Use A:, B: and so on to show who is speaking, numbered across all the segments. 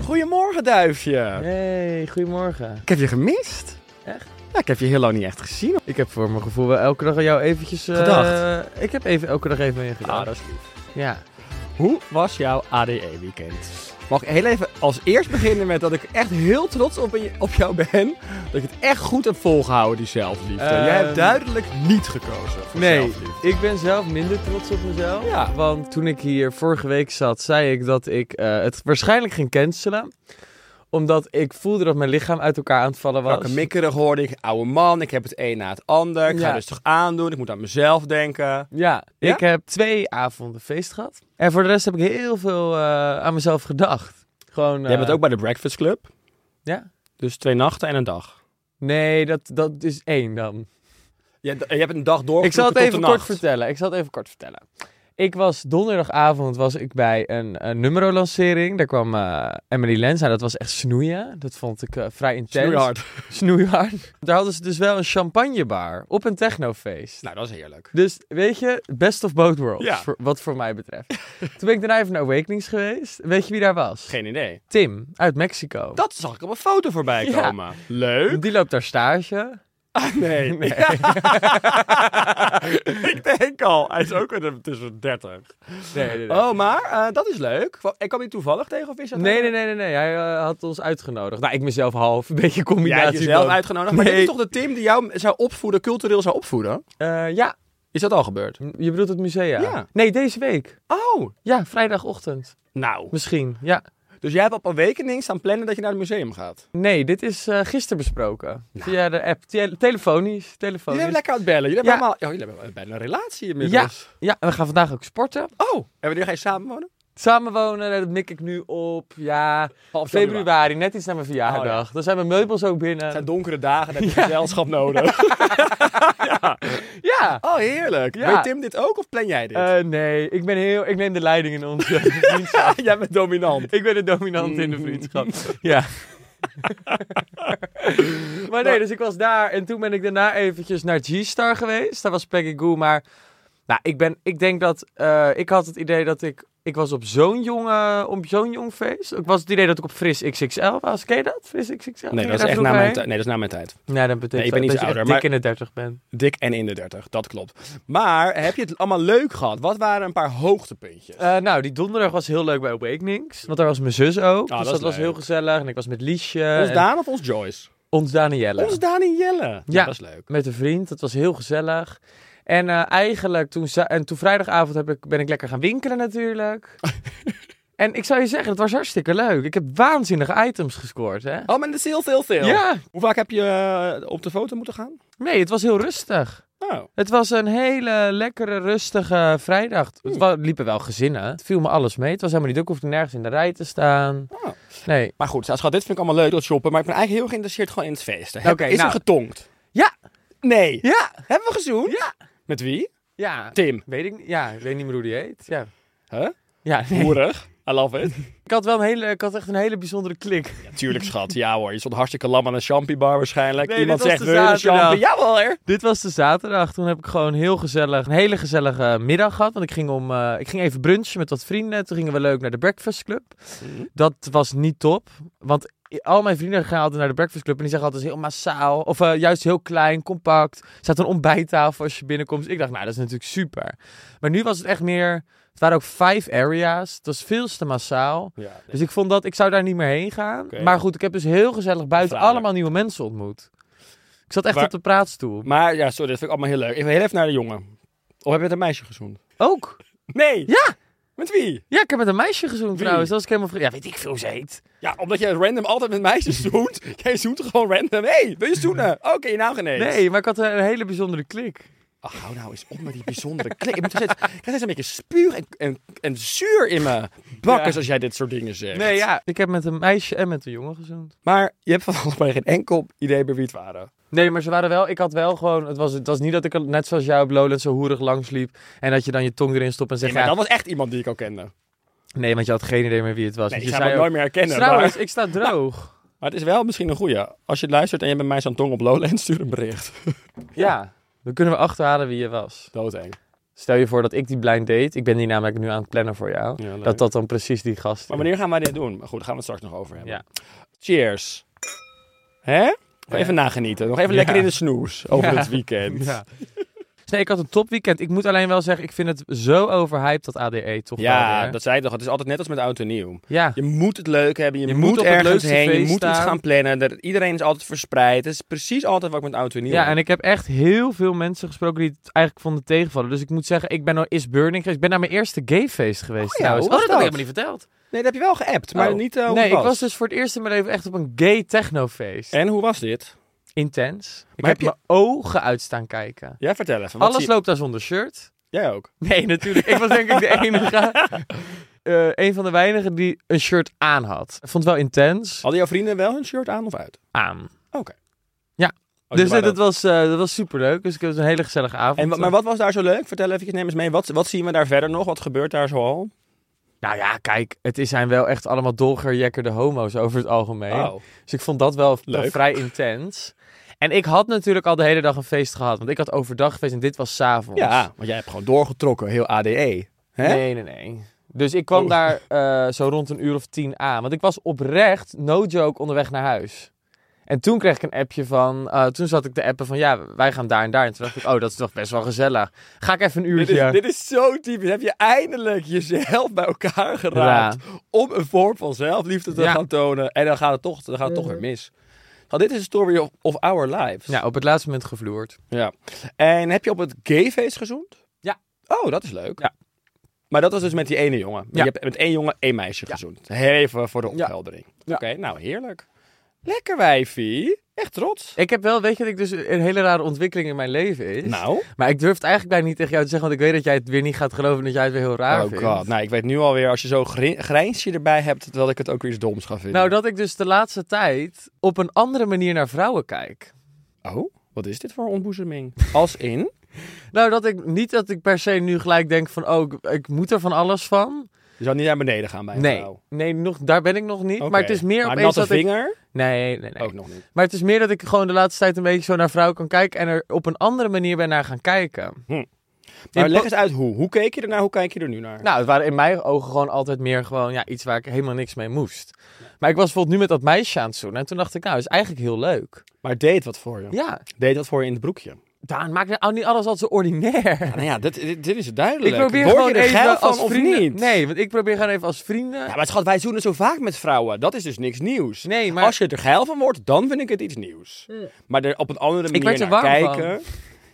A: Goedemorgen, duifje.
B: Hey, goedemorgen.
A: Ik heb je gemist.
B: Echt?
A: Ja, ik heb je heel lang niet echt gezien.
B: Ik heb voor mijn gevoel wel elke dag aan jou eventjes... eh,
A: Gedacht.
B: Ik heb even, elke dag even aan je gedacht.
A: Ah, is
B: Ja.
A: Hoe was jouw ADE-weekend? Mag ik heel even als eerst beginnen met dat ik echt heel trots op, je- op jou ben. Dat je het echt goed hebt volgehouden, die zelfliefde. Jij hebt
B: Ehm,
A: duidelijk niet gekozen voor
B: Nee,
A: zelfliefde.
B: ik ben zelf minder trots op mezelf.
A: Ja.
B: Want toen ik hier vorige week zat, zei ik dat ik eh, het waarschijnlijk ging cancelen. Omdat ik voelde dat mijn lichaam uit elkaar aan het vallen was.
A: Welke mikkerig hoorde ik, oude man, ik heb het een na het ander. Ik ga
B: Ja.
A: rustig aandoen, ik moet aan mezelf denken.
B: Ja,
A: Ja?
B: ik heb twee avonden feest gehad. En voor de rest heb ik heel veel eh, aan mezelf gedacht. Gewoon...
A: Jij bent
B: eh,
A: ook bij de Breakfast Club,
B: Ja?
A: dus twee nachten en een dag.
B: Nee, dat, dat is één dan.
A: Je, je hebt een dag door.
B: Ik zal het even kort vertellen. Ik zal het even kort vertellen. Ik was donderdagavond was ik bij een, een nummerolancering. Daar kwam eh, Emily Lens aan. Dat was echt snoeien. Dat vond ik eh, vrij intens. Snoeihard. Daar hadden ze dus wel een champagnebar op een technofeest.
A: Nou, dat is heerlijk.
B: Dus weet je, best of both worlds,
A: Ja.
B: voor- wat voor mij betreft. Toen ben ik daarna even naar Awakenings geweest. Weet je wie daar was?
A: Geen idee.
B: Tim, uit Mexico.
A: Dat zag ik op een foto voorbij
B: Ja.
A: komen. Leuk.
B: Die loopt daar stage.
A: Nee. ik denk al, hij is ook weer tussen 30.
B: Nee, nee, nee.
A: Oh, maar eh, dat is leuk. Ik kwam je toevallig tegen of is dat?
B: Nee, nee, nee, nee, nee. Hij eh, had ons uitgenodigd. Nou, ik mezelf half. Een beetje
A: Jij
B: combinatie.
A: hebt jezelf
B: van-
A: uitgenodigd. Maar
B: Nee.
A: dit is toch de Tim die jou zou opvoeden, cultureel zou opvoeden?
B: Eh, ja,
A: Is dat al gebeurd?
B: je bedoelt het museum?
A: Ja.
B: Nee, deze week.
A: Oh.
B: Ja, vrijdagochtend.
A: Nou.
B: Misschien, ja.
A: Dus jij hebt op een wekening staan plannen dat je naar het museum gaat.
B: Nee, dit is eh gisteren besproken. Via de app. Tele- telefonisch.
A: Jullie
B: Telefonisch.
A: Nou. hebben lekker aan het bellen. Jullie
B: Ja.
A: hebben allemaal... Oh, jullie hebben bijna een relatie inmiddels.
B: Ja, en we gaan vandaag ook sporten.
A: Oh. En wanneer ga je samen wonen?
B: Samenwonen, daar mik ik nu op. Ja,
A: Half
B: februari. Net iets na mijn verjaardag.
A: Oh,
B: Dan zijn mijn meubels ook binnen.
A: Het zijn donkere dagen, dan heb je gezelschap nodig.
B: Ja.
A: Oh, heerlijk.
B: Ja.
A: Weet Tim dit ook of plan jij dit?
B: Eh, nee, ik ben heel... Ik neem de leiding in onze vriendschap.
A: jij bent dominant.
B: Ik ben de dominant in de vriendschap. Ja. maar nee, dus ik was daar en toen ben ik daarna eventjes naar G-Star geweest. Daar was Peggy Goo, maar nou, ik, ben, ik denk dat eh, ik had het idee dat ik ik was op zo'n jong, eh, op zo'n jong feest. Ik was het idee dat ik op Fris XXL was. Ken je dat? Fris XXL?
A: Nee,
B: Ging
A: dat
B: je
A: is
B: daar
A: echt na
B: vroeger
A: mijn,
B: heen?
A: tijd. nee, dat is na mijn tijd.
B: Nee, dat betekent
A: Nee, ik ben
B: dat
A: niet
B: je
A: zo
B: echt
A: ouder,
B: dik
A: maar-
B: in de 30 bent.
A: Dik en in de 30, dat klopt. Maar heb je het allemaal leuk gehad? Wat waren een paar hoogtepuntjes?
B: Eh, nou, die donderdag was heel leuk bij Awakenings. Want daar was mijn zus ook.
A: Ah,
B: dus
A: dat
B: dat,
A: is
B: was
A: leuk.
B: heel gezellig. En ik was met Liesje.
A: ons
B: en
A: Daan of ons Joyce?
B: ons Danielle.
A: Ons Daan en Jelle.
B: eh. Ja.
A: Dat is leuk.
B: met een vriend. Dat was heel gezellig. En eh, eigenlijk toen, za- en toen vrijdagavond heb ik, ben ik lekker gaan winkelen natuurlijk. En ik zou je zeggen, het was hartstikke leuk. Ik heb waanzinnige items gescoord, hè?
A: Oh, maar dat is heel veel, veel.
B: Ja,
A: Hoe vaak heb je eh, op de foto moeten gaan?
B: nee, het was heel rustig.
A: Oh.
B: Het was een hele lekkere, rustige vrijdag.
A: Hmm.
B: Het wa- liepen wel gezinnen. Het viel me alles mee. Het was helemaal niet druk. Ik hoefde nergens in de rij te staan.
A: Oh.
B: Nee.
A: Maar goed, schat, dit vind ik allemaal leuk, dat shoppen. Maar ik ben eigenlijk heel geïnteresseerd gewoon in het feesten. Heb-
B: Oké,
A: is
B: nou.
A: er getongd?
B: Ja!
A: Nee.
B: Ja!
A: Hebben we gezoend?
B: Ja!
A: Met wie?
B: Ja!
A: Tim.
B: Weet ik niet. Ja, ik weet niet meer hoe die heet. Ja.
A: Huh?
B: Ja, nee.
A: Boerig. I love it.
B: Ik had wel een hele, ik had echt een hele bijzondere klik.
A: Tuurlijk, schat. Ja hoor, je stond hartstikke lam aan een champiebar waarschijnlijk.
B: Nee,
A: Iemand
B: dit was
A: zegt,
B: de
A: wil je een
B: zaterdag.
A: champie? Jawel hoor.
B: Dit was de zaterdag. Toen heb ik gewoon heel gezellig, een hele gezellige middag gehad. Want ik ging, om, eh, ik ging even brunchen met wat vrienden. Toen gingen we leuk naar de Breakfast Club.
A: Mhm.
B: Dat was niet top. Want i- al mijn vrienden gaan altijd naar de Breakfast Club. En die zeggen altijd het is heel massaal. Of eh, juist heel klein, compact. Er staat een ontbijttafel als je binnenkomt. Dus ik dacht, nou, dat is natuurlijk super. Maar nu was het echt meer... Het waren ook vijf area's. Het was veel te massaal.
A: Ja.
B: Dus ik vond dat ik zou daar niet meer heen gaan.
A: Oké.
B: Maar goed, ik heb dus heel gezellig buiten
A: Verraderlijk.
B: allemaal nieuwe mensen ontmoet. Ik zat echt
A: Waar-
B: op de praatstoel.
A: Maar ja, sorry, dat vind ik allemaal heel leuk. Even heel even naar de jongen. Of heb je met een meisje gezoend?
B: Ook.
A: Nee.
B: Ja.
A: Met wie?
B: Ja, ik heb met een meisje gezoend
A: Wie?
B: trouwens. Dat was ik helemaal vergeten. Ja, weet ik veel hoe ze heet.
A: Ja, omdat je random altijd met meisjes zoent. Jij zoent gewoon random. Hé, hey, wil je zoenen? Oké, nou genees.
B: Nee, maar ik had een hele bijzondere klik.
A: Ach, hou nou eens op met die bijzondere klik. Ik moet steeds, ik krijg steeds een beetje spuur en, en, en zuur in mijn bakkers
B: Ja.
A: als jij dit soort dingen zegt.
B: Nee, ja. Ik heb met een meisje en met een jongen gezoend.
A: Maar je hebt van allebei geen enkel idee bij wie het waren.
B: Nee, maar ze waren wel... Ik had wel gewoon... Het was, het was niet dat ik er net zoals jou op Lowland zo hoerig langs liep. En dat je dan je tong erin stopt en
A: Nee,
B: zegt...
A: maar
B: ja,
A: dat was echt iemand die ik al kende.
B: Nee, want je had geen idee meer wie het was.
A: Nee, ik
B: Want
A: zou hem
B: je zei
A: ook nooit meer herkennen.
B: Trouwens,
A: maar...
B: ik sta droog.
A: maar het is wel misschien een goeie. Als je luistert en je bent mij zo'n tong op Lowland, stuur een bericht.
B: Ja. Dan kunnen we achterhalen wie je was.
A: Doodeng.
B: Stel je voor dat ik die blind date... Ik ben die namelijk nu aan het plannen voor jou.
A: Ja, leuk.
B: dat dat dan precies die gast is.
A: Maar wanneer gaan wij dit doen? Maar goed, daar gaan we het straks nog over hebben.
B: Ja.
A: Cheers. Hè? Nog even nagenieten. Nog even
B: Ja.
A: lekker in de snoes over
B: Ja.
A: het weekend.
B: Ja. Dus nee, ik had een topweekend. Ik moet alleen wel zeggen, ik vind het zo overhyped dat ADE toch wel
A: Ja,
B: weer.
A: dat zei ik toch. Het is altijd net als met oud en nieuw.
B: Ja,
A: Je moet het leuk hebben, je,
B: Je
A: moet,
B: moet op het
A: ergens
B: leukste
A: heen, je
B: feest
A: moet iets
B: staan.
A: gaan plannen. Er- iedereen is altijd verspreid. Het is precies altijd wat ik met oud en nieuw
B: ja,
A: heb.
B: en ik heb echt heel veel mensen gesproken die het eigenlijk vonden tegenvallen. Dus ik moet zeggen, ik ben naar Is Burning geweest. Ik ben naar mijn eerste gayfeest
A: ja,
B: geweest trouwens.
A: hoe was
B: had ik
A: dat?
B: helemaal niet verteld.
A: Nee, dat heb je wel geappt, maar
B: Oh.
A: niet eh, hoe
B: Nee,
A: het
B: ik was dus voor het eerst in mijn leven echt op een gay technofeest.
A: En hoe was dit?
B: Intens. Ik
A: Maar
B: heb
A: heb je-
B: mijn ogen uit staan kijken.
A: Ja, vertel even. Wat
B: Alles
A: zie-
B: loopt daar zonder shirt.
A: Jij ook?
B: Nee, natuurlijk. Ik was denk ik de enige. eh, een van de weinigen die een shirt aan had. Ik vond het wel intens.
A: Hadden jouw vrienden wel hun shirt aan of uit?
B: Aan.
A: Oké.
B: Ja.
A: Oh,
B: dus
A: je
B: dat,
A: waren-
B: dat was, eh dat was superleuk. Dus ik heb een hele gezellige avond.
A: En, wa- maar wat was daar zo leuk? Vertel even, neem eens mee. Wat, wat zien we daar verder nog? Wat gebeurt daar zoal?
B: Nou ja, kijk, het is- zijn wel echt allemaal dolgerjekkerde homo's over het algemeen.
A: Oh.
B: Dus ik vond dat wel
A: Leuk.
B: vrij intens. En ik had natuurlijk al de hele dag een feest gehad. Want ik had overdag feest en dit was s'avonds.
A: Ja, want jij hebt gewoon doorgetrokken, heel ADE. Hè?
B: Nee, nee, nee. Dus ik kwam
A: Oh.
B: daar eh, zo rond een uur of tien aan. Want ik was oprecht, no joke, onderweg naar huis. En toen kreeg ik een appje van... eh, toen zat ik de appen van, ja, wij gaan daar en daar. En toen dacht ik, oh, dat is toch best wel gezellig. Ga ik even een
A: Dit
B: uurtje...
A: is, Dus dit is zo typisch. Heb je eindelijk jezelf bij elkaar geraakt om een vorm van zelfliefde te
B: Ja.
A: gaan tonen. En dan gaat het toch, dan gaat het toch weer mis. Nou, dit is de story of, of our lives.
B: Ja, op het laatste moment gevloerd.
A: Ja. En heb je op het gayfeest gezoend?
B: Ja.
A: Oh, dat is leuk.
B: Ja.
A: Maar dat was dus met die ene jongen.
B: Ja.
A: Je hebt met één jongen één meisje gezoend. Even voor de
B: Ja.
A: opheldering. Oké, nou heerlijk. Lekker wijfie. Echt trots.
B: Ik heb wel, weet je, dat ik dus een hele rare ontwikkeling in mijn leven is.
A: Nou.
B: Maar ik durf het eigenlijk bijna niet tegen jou te zeggen, want ik weet dat jij het weer niet gaat geloven en dat jij het weer heel raar
A: Oh
B: vindt.
A: god. Nou, ik weet nu alweer, als je zo'n gri- grijnsje erbij hebt, dat ik het ook weer iets doms ga vinden.
B: Nou, dat ik dus de laatste tijd op een andere manier naar vrouwen kijk.
A: Oh, wat is dit voor ontboezeming? Als in?
B: Nou, dat ik niet dat ik per se nu gelijk denk van, oh, ik, ik moet er van alles van.
A: Je zou niet naar beneden gaan bij een
B: Nee,
A: vrouw.
B: nee nog, daar ben ik nog niet.
A: Oké.
B: Maar het is meer
A: maar
B: opeens
A: natte
B: dat ik...
A: vinger?
B: Nee, nee, nee.
A: Ook nog niet.
B: Maar het is meer dat ik gewoon de laatste tijd een beetje zo naar vrouwen kan kijken en er op een andere manier ben naar gaan kijken.
A: Hm. Maar
B: In
A: Nou, leg
B: po-
A: eens uit hoe. Hoe keek je ernaar? Hoe kijk je er nu naar?
B: Nou, het waren in mijn ogen gewoon altijd meer gewoon ja, iets waar ik helemaal niks mee moest. Maar ik was bijvoorbeeld nu met dat meisje aan het zoenen en toen dacht ik, nou, is eigenlijk heel leuk.
A: maar deed wat voor je.
B: Ja,
A: Deed wat voor je in het broekje.
B: Daan, maak nou niet alles al zo ordinair.
A: Nou ja, dit, dit, dit is duidelijk.
B: Ik probeer
A: Word
B: gewoon
A: je er
B: even
A: geil
B: als
A: van of
B: vrienden...
A: niet?
B: Nee, want ik probeer gewoon even als vrienden...
A: Ja, maar schat, wij zoenen zo vaak met vrouwen. Dat is dus niks nieuws.
B: Nee, maar-
A: Als je er geil van wordt, dan vind ik het iets nieuws. Maar er op een andere manier
B: werd er
A: naar
B: warm
A: kijken.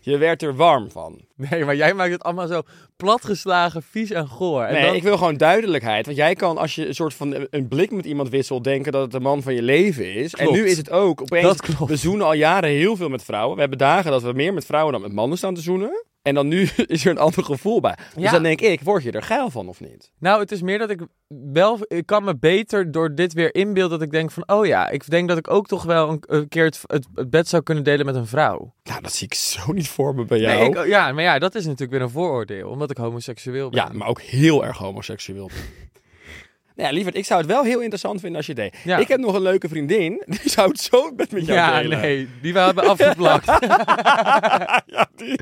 A: Je werd er warm van.
B: Nee, maar jij maakt het allemaal zo platgeslagen, vies en goor. En
A: nee,
B: dan-
A: ik wil gewoon duidelijkheid. Want jij kan, als je een soort van een blik met iemand wisselt, denken dat het de man van je leven is.
B: Klopt.
A: En nu is het ook. Opeens,
B: Dat klopt.
A: We zoenen al jaren heel veel met vrouwen. We hebben dagen dat we meer met vrouwen dan met mannen staan te zoenen. En dan nu is er een ander gevoel bij. Dus
B: Ja.
A: dan denk ik, word je er geil van of niet?
B: Nou, het is meer dat ik wel... Ik kan me beter door dit weer inbeelden dat ik denk van... Oh ja, ik denk dat ik ook toch wel een, een keer het, het, het bed zou kunnen delen met een vrouw.
A: Nou, dat zie ik zo niet voor me bij jou.
B: Nee, ik, ja, maar ja, dat is natuurlijk weer een vooroordeel. Omdat ik homoseksueel ben.
A: Ja, maar ook heel erg homoseksueel. Nou ja, lieverd, ik zou het wel heel interessant vinden als je het deed.
B: Ja.
A: Ik heb nog een leuke vriendin, die zou het zo met, met jou
B: Ja,
A: delen.
B: nee, die we hebben afgeplakt.
A: Ja, die-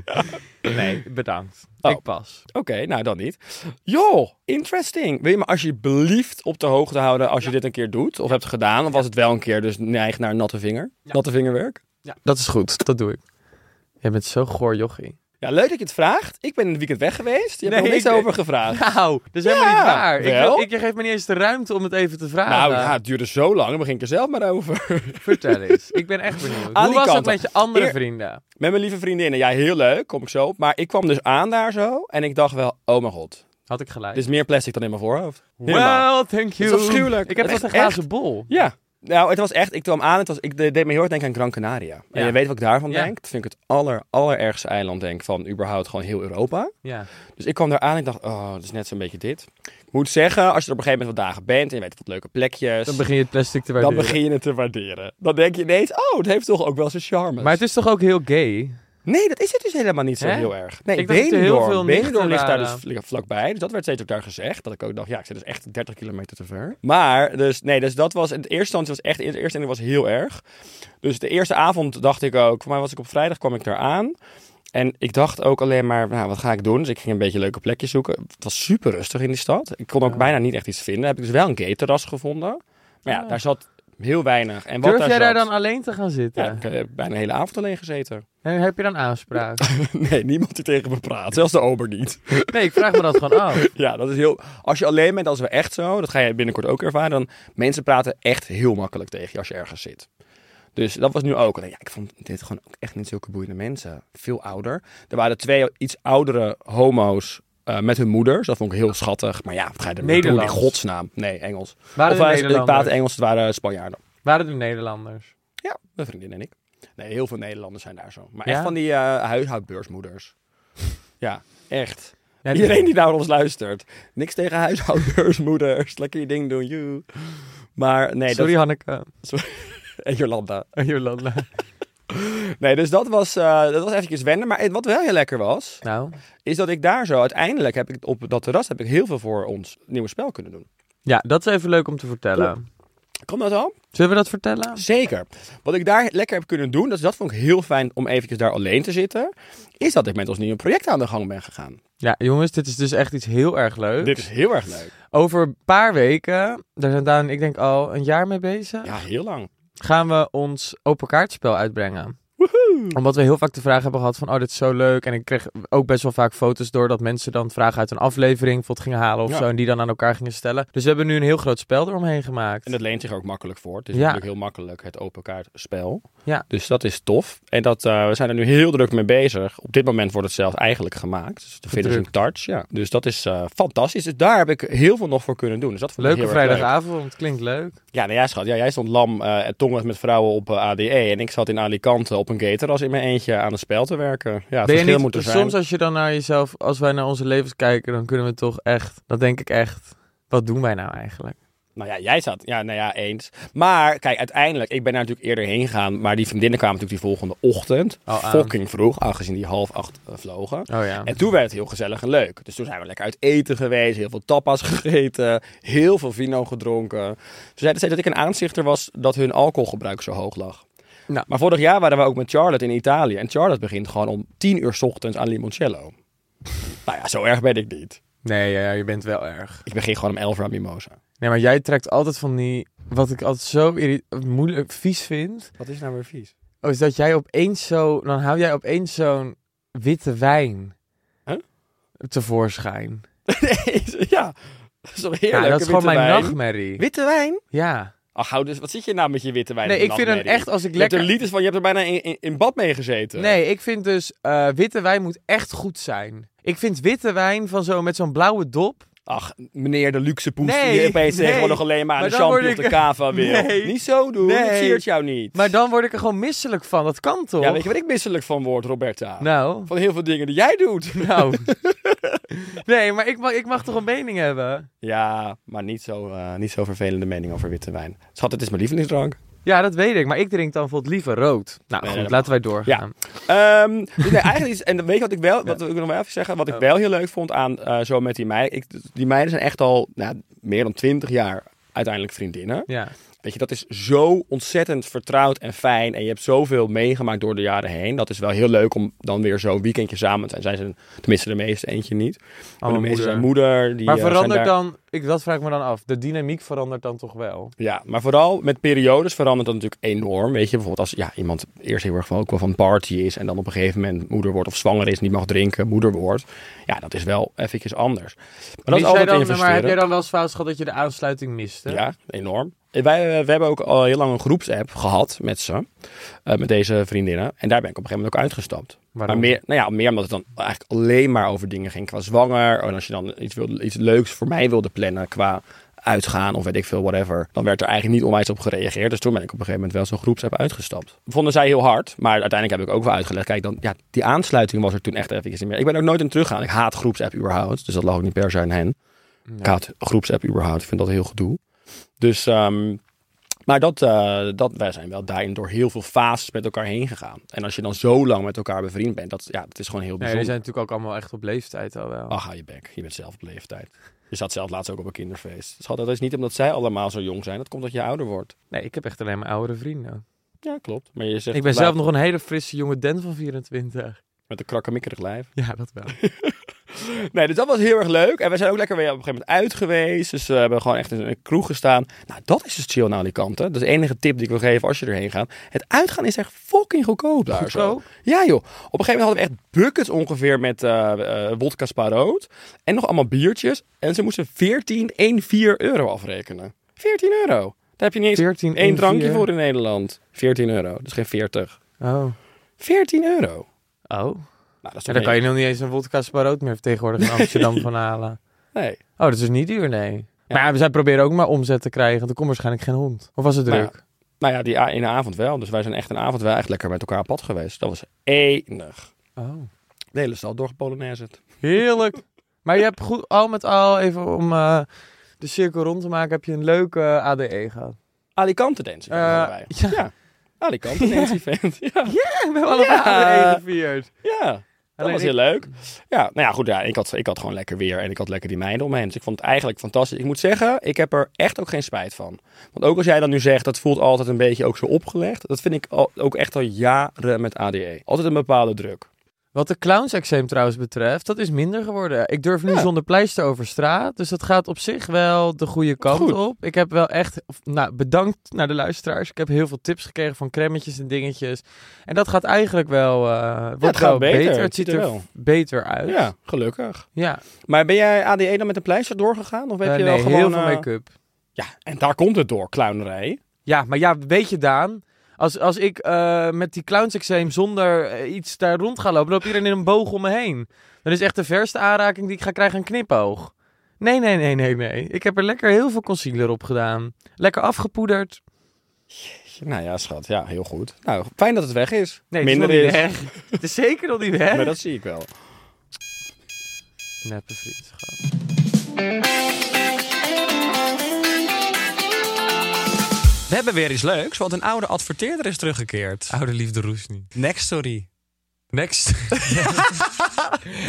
B: Nee, bedankt.
A: Oh.
B: Ik pas.
A: Oké, nou dan niet. Joh, interesting. Wil je me alsjeblieft op de hoogte houden als je dit een keer doet? Of hebt gedaan? Of was het wel een keer dus neig naar natte vinger? Natte vingerwerk?
B: Dat is goed, dat doe ik. Jij bent zo goor jochie.
A: Ja, leuk dat je het vraagt. Ik ben in het weekend weg geweest. Je hebt
B: Nee,
A: er nog niks
B: ik-
A: over gevraagd.
B: Nou, dat is helemaal
A: Ja,
B: niet waar. Ik,
A: wel.
B: wil- ik, je geeft me niet eens de ruimte om het even te vragen.
A: Nou ja, het duurde zo lang. Dan begin ik er zelf maar over.
B: Vertel eens. Ik ben echt benieuwd.
A: Aan
B: Hoe
A: die
B: was het
A: kanten.
B: met je andere
A: Eer-
B: vrienden?
A: Met mijn lieve vriendinnen. Ja, heel leuk. Kom ik zo op. Maar ik kwam dus aan daar zo. En ik dacht wel, oh mijn god.
B: Had ik gelijk?
A: Dit is meer plastic dan in mijn voorhoofd. Helemaal.
B: well, thank you.
A: Het is afschuwelijk.
B: Ik heb
A: Het
B: echt een
A: is echt-
B: glazen bol.
A: Ja. Nou, het was echt, ik kwam aan, het, was, ik de- deed me heel erg denken aan Gran Canaria. En
B: Ja.
A: je weet wat ik daarvan
B: Ja.
A: denk? Dat vind ik het aller, allerergste eiland, denk ik, van überhaupt gewoon heel Europa.
B: Ja.
A: Dus ik kwam daar aan en ik dacht, oh, dat is net zo'n beetje dit. Ik moet zeggen, als je er op een gegeven moment wat dagen bent en je weet wat leuke plekjes,
B: Dan begin je het plastic te
A: dan
B: waarderen.
A: begin je het te waarderen. Dan denk je ineens, oh, het heeft toch ook wel zijn charme.
B: Maar het is toch ook heel gay?
A: Nee, dat is het dus helemaal niet zo
B: Hè?
A: heel erg. Nee,
B: Ik dacht dat er heel
A: Benidorm.
B: veel nichten
A: Benidorm ligt daar dus
B: waren.
A: vl- vlakbij. Dus dat werd steeds ook daar gezegd. Dat ik ook dacht, ja, ik zit dus echt 30 kilometer te ver. Maar, dus nee, dus dat was... In de eerste instantie was echt... In de eerste instantie was heel erg. Dus de eerste avond dacht ik ook... Voor mij was ik op vrijdag, kwam ik daar aan. En ik dacht ook alleen maar, nou, wat ga ik doen? Dus ik ging een beetje een leuke plekjes zoeken. Het was super rustig in die stad. Ik kon ook bijna niet echt iets vinden. Heb ik dus wel een gay-terras gevonden. Maar ja,
B: Ah.
A: daar zat heel weinig. En wat
B: Durf
A: daar
B: jij daar
A: zat-
B: dan alleen te gaan zitten?
A: Ja, ik heb bijna de hele avond alleen gezeten.
B: En heb je dan aanspraak?
A: Nee, niemand die tegen me praat. Zelfs de ober niet.
B: Nee, ik vraag me dat gewoon af.
A: Ja, dat is heel... Als je alleen bent, als we echt zo, dat ga je binnenkort ook ervaren, dan mensen praten echt heel makkelijk tegen je als je ergens zit. Dus dat was nu ook. Alleen, Ja, ik vond dit gewoon ook echt niet zulke boeiende mensen. Veel ouder. Er waren twee iets oudere homo's eh, met hun moeders. Dat vond ik heel schattig. Maar ja, wat ga je ermee doen? In
B: Nederlands.
A: godsnaam. Nee, Engels.
B: Waren
A: of
B: er
A: waren ze ik
B: Nederlanders?
A: praten Engels, het waren Spanjaarden.
B: Waren er Nederlanders?
A: Ja, mijn vriendin en ik. Nee, heel veel Nederlanders zijn daar zo. Maar
B: Ja?
A: echt van die eh, huishoudbeursmoeders. ja, echt.
B: Ja, die-
A: Iedereen die naar ons luistert. Niks tegen huishoudbeursmoeders. Lekker je ding doen, you. Maar nee,
B: Sorry
A: dat...
B: Hanneke.
A: En Jolanda.
B: Jolanda.
A: Nee, dus dat was, eh, dat was eventjes wennen. Maar wat wel heel lekker was,
B: Nou,
A: is dat ik daar zo... Uiteindelijk heb ik op dat terras heb ik heel veel voor ons nieuwe spel kunnen doen.
B: ja, dat is even leuk om te vertellen.
A: Komt dat al?
B: Zullen we dat vertellen?
A: Zeker. Wat ik daar lekker heb kunnen doen, dat, dat vond ik heel fijn om eventjes daar alleen te zitten, is dat ik met ons nieuwe project aan de gang ben gegaan.
B: Ja, jongens, dit is dus echt iets heel erg leuk.
A: Dit is heel erg leuk.
B: Over een paar weken, daar zijn Daan en ik denk al een jaar mee bezig,
A: Ja, heel lang.
B: gaan we ons open kaartspel uitbrengen. Omdat we heel vaak de vraag hebben gehad van, oh, dit is zo leuk. En ik kreeg ook best wel vaak foto's door dat mensen dan vragen uit een aflevering bijvoorbeeld gingen halen of
A: Ja.
B: zo. En die dan aan elkaar gingen stellen. Dus we hebben nu een heel groot spel eromheen gemaakt.
A: En dat leent zich ook makkelijk voor. Het is
B: Ja.
A: natuurlijk heel makkelijk het open kaartspel.
B: Ja.
A: Dus dat is tof. En dat, eh, we zijn er nu heel druk mee bezig. Op dit moment wordt het zelfs eigenlijk gemaakt. Dus de finish in
B: Gedrukt.
A: touch. Ja. Dus dat is eh, fantastisch. Dus daar heb ik heel veel nog voor kunnen doen. Dus dat vond ik
B: Leuke
A: heel erg leuk.
B: vrijdagavond, klinkt leuk.
A: Ja, nou ja, schat. Ja, jij stond lam eh en tongens met vrouwen op eh, ADE. En ik zat in Alicante op een gateras in mijn eentje aan een spel te werken. Ja, het
B: ben je
A: verschil
B: niet,
A: moet er zijn.
B: soms als je dan naar jezelf, als wij naar onze levens kijken, dan kunnen we toch echt, dan denk ik echt, wat doen wij nou eigenlijk?
A: Nou ja, jij zat. Ja, nou ja, eens. Maar kijk, uiteindelijk, ik ben daar natuurlijk eerder heen gegaan. Maar die vriendinnen kwamen natuurlijk die volgende ochtend.
B: Al aan.
A: fucking vroeg, aangezien die half acht eh, vlogen.
B: Oh ja.
A: En toen werd het heel gezellig en leuk. Dus toen zijn we lekker uit eten geweest, heel veel tapas gegeten, heel veel vino gedronken. Ze zeiden steeds dat ik een aanzichter was dat hun alcoholgebruik zo hoog lag.
B: Nou.
A: Maar vorig jaar waren we ook met Charlotte in Italië. En Charlotte begint gewoon om tien uur 's ochtends aan limoncello. nou ja, zo erg ben ik niet.
B: Nee, ja, ja, je bent wel erg.
A: Ik begin gewoon om elf uur aan mimosa.
B: Nee, maar jij trekt altijd van die, wat ik altijd zo irri- moeilijk, vies vind,
A: Wat is nou weer vies?
B: oh, is dat jij opeens zo, dan hou jij opeens zo'n witte wijn
A: Huh?
B: tevoorschijn.
A: ja, dat is toch heerlijk.
B: ja, dat
A: een
B: is gewoon
A: witte
B: mijn
A: wijn.
B: nachtmerrie.
A: Witte wijn?
B: Ja.
A: Ach, hou dus, wat zit je nou met je witte wijn?
B: Nee,
A: in de
B: ik vind hem
A: nachtmerrie?
B: echt als ik
A: Je hebt er
B: lekker...
A: liters van, je hebt er bijna in, in, in bad mee gezeten.
B: Nee, ik vind dus eh, witte wijn moet echt goed zijn. Ik vind witte wijn van zo, met zo'n blauwe dop.
A: Ach, meneer de luxe poes
B: Nee,
A: die opeens
B: nee.
A: tegenwoordig alleen maar,
B: Maar
A: de
B: dan word
A: champagne of de
B: ik-
A: cava wil.
B: Nee.
A: Niet zo doen,
B: Nee.
A: dat siert jou niet.
B: Maar dan word ik er gewoon misselijk van. Dat kan toch?
A: Ja, weet je wat ik misselijk van word, Roberta?
B: Nou,
A: Van heel veel dingen die jij doet.
B: nou. nee, maar ik mag, ik mag toch een mening hebben?
A: Ja, maar niet zo, eh, niet zo vervelende mening over witte wijn. Schat, het is mijn lievelingsdrank.
B: Ja, dat weet ik. Maar ik drink dan bijvoorbeeld liever rood. Nou
A: Nee,
B: goed,
A: dat
B: laten wij doorgaan.
A: Ehm, dus nee, eigenlijk is, en weet je wat ik wel, wat ik nog wel even zeggen,
B: Oh.
A: wat ik wel heel leuk vond aan eh, zo met die meiden. Ik, die meiden zijn echt al nou, meer dan twintig jaar uiteindelijk vriendinnen.
B: Ja.
A: Weet je, dat is zo ontzettend vertrouwd en fijn. En je hebt zoveel meegemaakt door de jaren heen. Dat is wel heel leuk om dan weer zo'n weekendje samen te zijn. Zijn ze, tenminste de meeste eentje niet. Maar de
B: Allemaal
A: meeste
B: moeder.
A: zijn moeder. Die,
B: Maar
A: eh, zijn
B: verandert
A: daar-
B: dan, ik, dat vraag ik me dan af, de dynamiek verandert dan toch wel?
A: Ja, maar vooral met periodes verandert dat natuurlijk enorm. Weet je, bijvoorbeeld als ja, iemand eerst heel erg van, ook wel van party is... en dan op een gegeven moment moeder wordt of zwanger is... niet mag drinken, moeder wordt. Ja, dat is wel eventjes anders. Maar dat
B: Mis
A: is
B: jij
A: altijd
B: dan,
A: investeren.
B: Maar heb jij dan wel eens fout gehad dat je de aansluiting miste?
A: Ja, enorm. Eh, Wij, eh, we hebben ook al heel lang een groepsapp gehad met ze, eh, met deze vriendinnen. En daar ben ik op een gegeven moment ook uitgestapt.
B: Waarom?
A: Maar meer, nou ja, meer omdat het dan eigenlijk alleen maar over dingen ging qua zwanger. Oh, En als je dan iets, wilde, iets leuks voor mij wilde plannen qua uitgaan of weet ik veel, whatever. Dan werd er eigenlijk niet onwijs op gereageerd. Dus toen ben ik op een gegeven moment wel zo'n groepsapp uitgestapt. Vonden zij heel hard, maar uiteindelijk heb ik ook wel uitgelegd. Kijk, dan, ja, die aansluiting was er toen echt even niet meer. Ik ben er ook nooit in teruggegaan. Ik haat groepsapp überhaupt, dus dat lag ook niet per se aan hen. Ik haat groepsapp überhaupt. Ik vind dat heel gedoe. Dus, ehm, maar dat, eh, dat, wij zijn wel daarin door heel veel fases met elkaar heen gegaan. En als je dan zo lang met elkaar bevriend bent, dat, ja, dat is gewoon heel
B: Nee, jullie
A: bijzonder.
B: zijn natuurlijk ook allemaal echt op leeftijd al wel.
A: Ach, hou je bek. Je bent zelf op leeftijd. Je zat zelf laatst ook op een kinderfeest. Schat, dat is niet omdat zij allemaal zo jong zijn. Dat komt dat je ouder wordt.
B: Nee, ik heb echt alleen maar oudere vrienden.
A: Ja, klopt. Maar je zegt
B: Ik ben
A: blij-
B: zelf nog een hele frisse jonge Den van 24.
A: met een krakkemikkerig lijf.
B: Ja, dat wel.
A: Nee, dus dat was heel erg leuk. En we zijn ook lekker weer op een gegeven moment uit geweest. Dus eh, we hebben gewoon echt in een kroeg gestaan. Nou, dat is dus chill aan Alicante. Dat is de enige tip die ik wil geven als je erheen gaat. Het uitgaan is echt fucking goedkoop daar zo.
B: Goedkoop?
A: Ja joh. Op een gegeven moment hadden we echt buckets ongeveer met eh eh wodka sparoot. En nog allemaal biertjes. En ze moesten 14, 1, 4 euro afrekenen. 14 euro. Daar heb je niet eens
B: 14,
A: één drankje
B: 1,4.
A: voor in Nederland. 14 euro. Dat is geen 40.
B: Oh.
A: 14 euro.
B: Oh.
A: Nou, dat is
B: Ja,
A: toch
B: dan kan je
A: niet-
B: nog niet eens een vodka sparoot meer tegenwoordig in Amsterdam van halen.
A: Nee.
B: Oh, dat is dus niet duur, nee. Maar ja, zij proberen ook maar omzet te krijgen. want Er komt waarschijnlijk geen hond. Of was het
A: Maar ja,
B: druk?
A: Nou ja, die a- ene avond wel. Dus wij zijn echt een avond wel echt lekker met elkaar op pad geweest. Dat was enig.
B: Oh.
A: De hele stad door het.
B: Heerlijk. Maar je hebt goed, al met al, even om eh, de cirkel rond te maken, heb je een leuke eh, ADE gehad.
A: Alicante Dance Event
B: Eh,
A: hadden wij.
B: ja.
A: Alicante Dance Event. Ja.
B: We hebben allemaal
A: Ja.
B: ADE E gevierd.
A: ja. Dat
B: Alleen
A: was
B: ik-
A: heel leuk. Ja, nou ja, goed. Ja, ik, had, ik had gewoon lekker weer en ik had lekker die meiden om me heen. Dus ik vond het eigenlijk fantastisch. Ik moet zeggen, ik heb er echt ook geen spijt van. Want ook als jij dan nu zegt, dat voelt altijd een beetje ook zo opgelegd. Dat vind ik al, ook echt al jaren met ADE. Altijd een bepaalde druk.
B: Wat de clowns-examen trouwens betreft, dat is minder geworden. Ik durf nu
A: Ja.
B: zonder pleister over straat. Dus dat gaat op zich wel de goede kant
A: Goed.
B: op. Ik heb wel echt, of, nou bedankt naar de luisteraars. Ik heb heel veel tips gekregen van cremmetjes en dingetjes. En dat gaat eigenlijk wel, eh, wordt
A: het gaat
B: wel
A: beter.
B: beter.
A: Het
B: Het ziet
A: ziet er
B: er
A: wel.
B: f- beter uit.
A: Ja, gelukkig.
B: ja.
A: Maar ben jij ADE dan met een pleister doorgegaan? Of heb
B: Eh,
A: je
B: nee,
A: wel gewoon...
B: heel veel
A: eh,
B: make-up.
A: Ja, en daar komt het door, clownerij.
B: Ja, maar ja, weet je Daan, als, als ik eh, met die clowns-examen zonder eh, iets daar rond ga lopen, dan loopt iedereen in een boog om me heen. Dat is echt de verste aanraking die ik ga krijgen, een knipoog. Nee, nee, nee, nee, nee. Ik heb er lekker heel veel concealer op gedaan. Lekker afgepoederd.
A: Nou ja, schat. Ja, heel goed. Nou, fijn dat het weg is.
B: Nee,
A: Minder
B: het is, nog
A: is.
B: niet weg. Het is zeker nog niet weg.
A: Maar dat zie ik wel.
B: Neppe vriendschap.
A: We hebben weer iets leuks, want een oude adverteerder is teruggekeerd.
B: Oude liefde roest niet.
A: Next Story.
B: Next.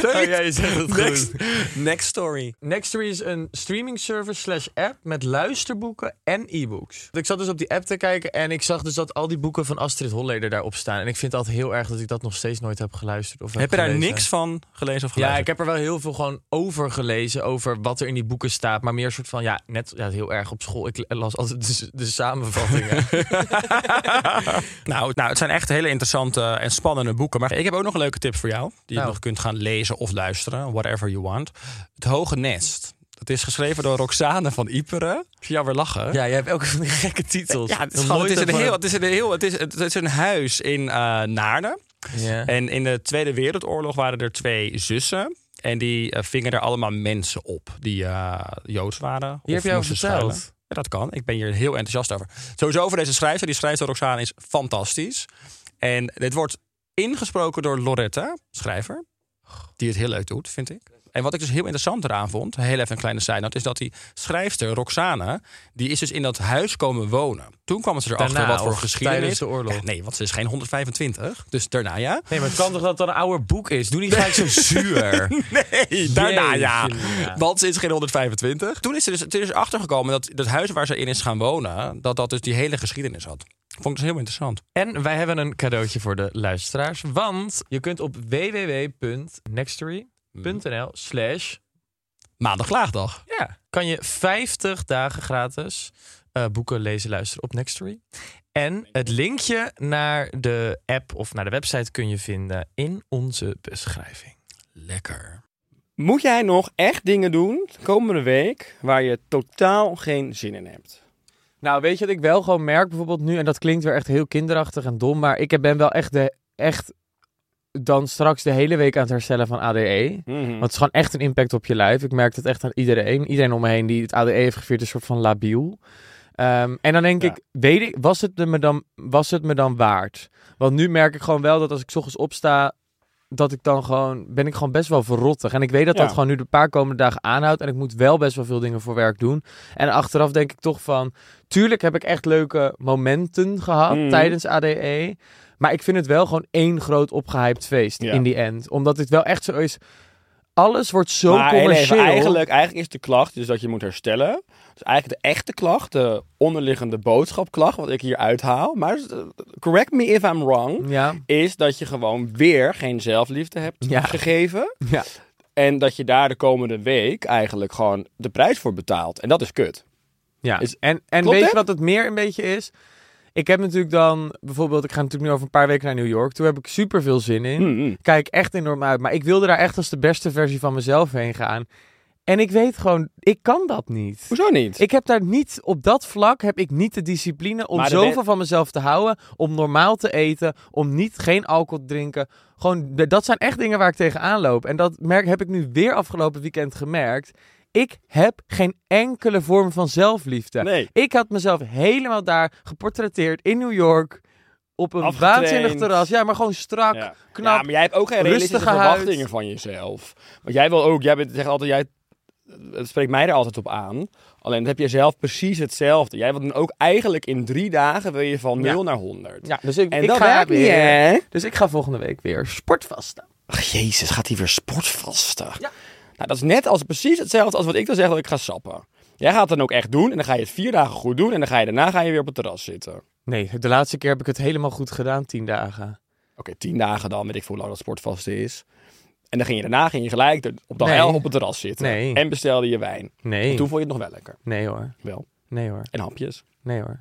A: ja,
B: je zegt het
A: Next Story.
B: Nextory is een streaming service slash app met luisterboeken en e-books. Ik zat dus op die app te kijken en ik zag dus dat al die boeken van Astrid Holleder daarop staan. En ik vind dat heel erg dat ik dat nog steeds nooit heb geluisterd. Of
C: Heb je daar
B: gelezen.
C: niks van gelezen of
B: Ja,
C: geluisterd?
B: ik heb er wel heel veel gewoon over gelezen, over wat er in die boeken staat. Maar meer een soort van, ja, net ja, heel erg op school. Ik las altijd de, de samenvattingen.
C: nou, nou, het zijn echt hele interessante en spannende boeken. Maar ik heb ook nog leuke tips voor jou. Die je
B: Nou.
C: nog kunt gaan lezen of luisteren. Whatever you want. Het Hoge Nest. Dat is geschreven door Roxane van Iperen. Ja, weer lachen.
D: Ja, jij hebt elke van die gekke titels.
C: Ja, het is,
D: Nog
C: gewoon- het is
D: nooit
C: een
D: over-
C: heel, het is een heel, het is, het is een huis in eh, Naarden.
D: Ja.
C: En in de Tweede Wereldoorlog waren er twee zussen. En die eh, vingen er allemaal mensen op die eh, Joods waren.
D: Hier
C: of
D: heb je over
C: moesten
D: verteld.
C: schuilen. Ja, dat kan. Ik ben hier heel enthousiast over. Sowieso over deze schrijfster. Die schrijfster Roxane is fantastisch. En dit wordt ingesproken door Loretta, schrijver. Die het heel leuk doet, vind ik. En wat ik dus heel interessant eraan vond, heel even een kleine zijnoot, is dat die schrijfster Roxane, die is dus in dat huis komen wonen. Toen kwamen ze erachter
D: Daarna,
C: wat voor
D: of
C: geschiedenis.
D: tijdens de oorlog?
C: Ja, nee, want ze is geen 125, dus daarna ja.
D: Nee, maar het kan toch dat het dan een ouder boek is? Doe niet gelijk zo zuur.
C: Nee, daarna ja.
D: Jeetje, ja.
C: Want ze is geen 125. Toen is er dus, het is achtergekomen dat dat huis waar ze in is gaan wonen, dat dat dus die hele geschiedenis had. Vond ik dus heel interessant.
D: En wij hebben een cadeautje voor de luisteraars. Want je kunt op www.nextory.nl slash...
C: Maandag laagdag.
D: Ja, kan je 50 dagen gratis eh, boeken lezen, luisteren op Nextory. En het linkje naar de app of naar de website kun je vinden in onze beschrijving.
C: Lekker.
A: Moet jij nog echt dingen doen komende week waar je totaal geen zin in hebt?
B: Nou, weet je wat ik wel gewoon merk bijvoorbeeld nu? En dat klinkt weer echt heel kinderachtig en dom. Maar ik heb- ben wel echt, de, echt dan straks de hele week aan het herstellen van E. ADE.
D: Mhm.
A: Hmm.
B: Want het is gewoon echt een impact op je lijf. Ik merk dat echt aan iedereen. Iedereen om me heen die het ADE heeft gevierd, is een soort van labiel. Ehm, en dan denk
A: Ja.
B: ik, weet ik, was het, me dan, was het me dan waard? Want nu merk ik gewoon wel dat als ik 's ochtends opsta, dat ik dan gewoon, ben ik gewoon best wel verrottig. En ik weet dat
A: Ja.
B: dat gewoon nu de paar komende dagen aanhoudt. En ik moet wel best wel veel dingen voor werk doen. En achteraf denk ik toch van, tuurlijk heb ik echt leuke momenten gehad
A: Mhm.
B: tijdens ADE. Maar ik vind het wel gewoon één groot opgehyped feest
A: Ja.
B: in die end. Omdat dit wel echt zo is. Alles wordt zo
A: maar heel even,
B: commercieel.
A: eigenlijk, eigenlijk is de klacht dus dat je moet herstellen. Dus eigenlijk de echte klacht, de onderliggende boodschapklacht, wat ik hier uithaal. Maar eh, correct me if I'm wrong.
B: Ja,
A: Is dat je gewoon weer geen zelfliefde hebt
B: Ja.
A: gegeven.
B: ja.
A: En dat je daar de komende week eigenlijk gewoon de prijs voor betaalt. En dat is kut.
B: ja.
A: Is-
B: en en
A: Klopt
B: weet
A: dit?
B: je wat het meer een beetje is? Ik heb natuurlijk dan, bijvoorbeeld, ik ga natuurlijk nu over een paar weken naar New York. Toen heb ik super veel zin in.
A: Mm-mm.
B: Kijk echt enorm uit. Maar ik wilde daar echt als de beste versie van mezelf heen gaan. En ik weet gewoon, ik kan dat niet.
A: Hoezo niet?
B: Ik heb daar niet, op dat vlak heb ik niet de discipline om
A: Maar de
B: zoveel
A: wet-
B: van mezelf te houden. Om normaal te eten, om niet geen alcohol te drinken. Gewoon, d- dat zijn echt dingen waar ik tegenaan loop. En dat merk, heb ik nu weer afgelopen weekend gemerkt. Ik heb geen enkele vorm van zelfliefde.
A: Nee.
B: Ik had mezelf helemaal daar geportretteerd in New York. Op een
A: Afgetraind.
B: waanzinnig terras. Ja, maar gewoon strak,
A: Ja.
B: knap.
A: Ja, maar jij hebt ook geen realistische
B: rustige huid.
A: verwachtingen van jezelf. Want jij wil ook, jij bent, zegt altijd, jij, het spreekt mij er altijd op aan. Alleen dat heb je zelf precies hetzelfde. Jij wil dan ook eigenlijk in drie dagen wil je van 0 naar 100.
B: Ja, dus ik,
A: En
B: ik
A: dat
B: ga
A: werkt niet,
B: weer-
A: hè?
B: Dus ik ga volgende week weer sportvasten.
A: Ach, jezus, gaat hij weer sportvasten? Nou, dat is net als precies hetzelfde als wat ik dan zeg dat ik ga sappen. Jij gaat het dan ook echt doen en dan ga je het vier dagen goed doen en dan ga je daarna ga je weer op het terras zitten. Oké,
B: Nee, de laatste keer heb ik het helemaal goed gedaan, tien dagen.
A: tien dagen dan, weet ik veel hoe lang dat sportvasten is. En dan ging je daarna ging je gelijk de- op dag
B: Nee.
A: 11 op het terras zitten.
B: Nee.
A: En bestelde je wijn.
B: Nee.
A: En toen vond je het nog wel lekker.
B: Nee hoor.
A: Wel.
B: Nee hoor.
A: En hapjes.
B: Nee hoor.